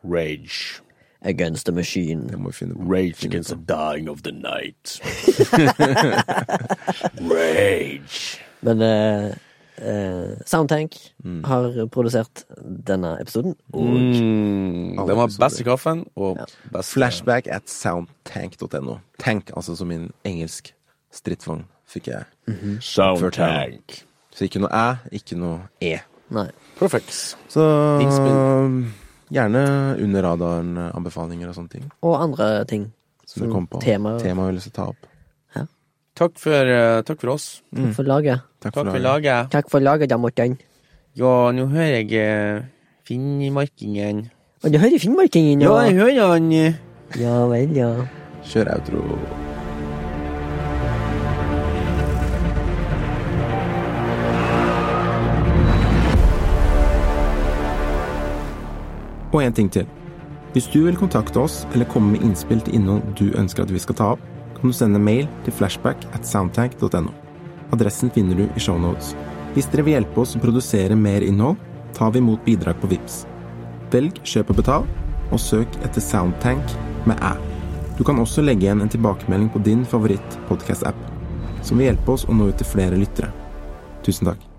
Speaker 2: Rage.
Speaker 3: Against the machine.
Speaker 1: det må vi finne på.
Speaker 2: Rage against the dying of the night. Rage.
Speaker 3: Men eh, eh, Soundtank har produsert denne episoden.
Speaker 2: Mm,
Speaker 1: Alle
Speaker 2: den var
Speaker 1: episoder.
Speaker 2: best i kaffen, og best
Speaker 1: Flashback at soundtank.no. Tank, altså som min engelsk strittvogn, fikk jeg.
Speaker 2: Mhm. Soundtank.
Speaker 1: Så ikke noe æ, ikke noe e.
Speaker 3: Nei.
Speaker 2: Perfect.
Speaker 1: Så
Speaker 2: Innspill.
Speaker 1: gjerne under radaren eh, anbefalinger og sånne ting.
Speaker 3: Og andre ting.
Speaker 1: Som du
Speaker 3: Som
Speaker 1: kom på.
Speaker 3: tema-
Speaker 1: Tema vi har lyst til å ta opp.
Speaker 2: Takk for, eh, takk for oss.
Speaker 3: Takk for laget.
Speaker 1: Takk
Speaker 2: Takk
Speaker 1: for
Speaker 2: for
Speaker 1: laget.
Speaker 2: laget.
Speaker 3: Takk for laget, da, Morten.
Speaker 2: Ja, nå hører jeg eh, Finnmarkingen.
Speaker 3: Og du hører Finnmarkingen,
Speaker 2: Ja, jeg hører han. eh.
Speaker 3: Ja vel, ja.
Speaker 1: Kjør outro. Og en ting til. Hvis du vil kontakte oss eller komme med innspill til innhold du ønsker at vi skal ta opp, kan du sende mail til flashback at soundtank.no. Adressen finner du i shownotes. Hvis dere vil hjelpe oss å produsere mer innhold, tar vi imot bidrag på VIPS. Velg kjøp og betal, og søk etter Soundtank med æ. Du kan også legge igjen en tilbakemelding på din favoritt podcast-app, som vil hjelpe oss å nå ut til flere lyttere. Tusen takk.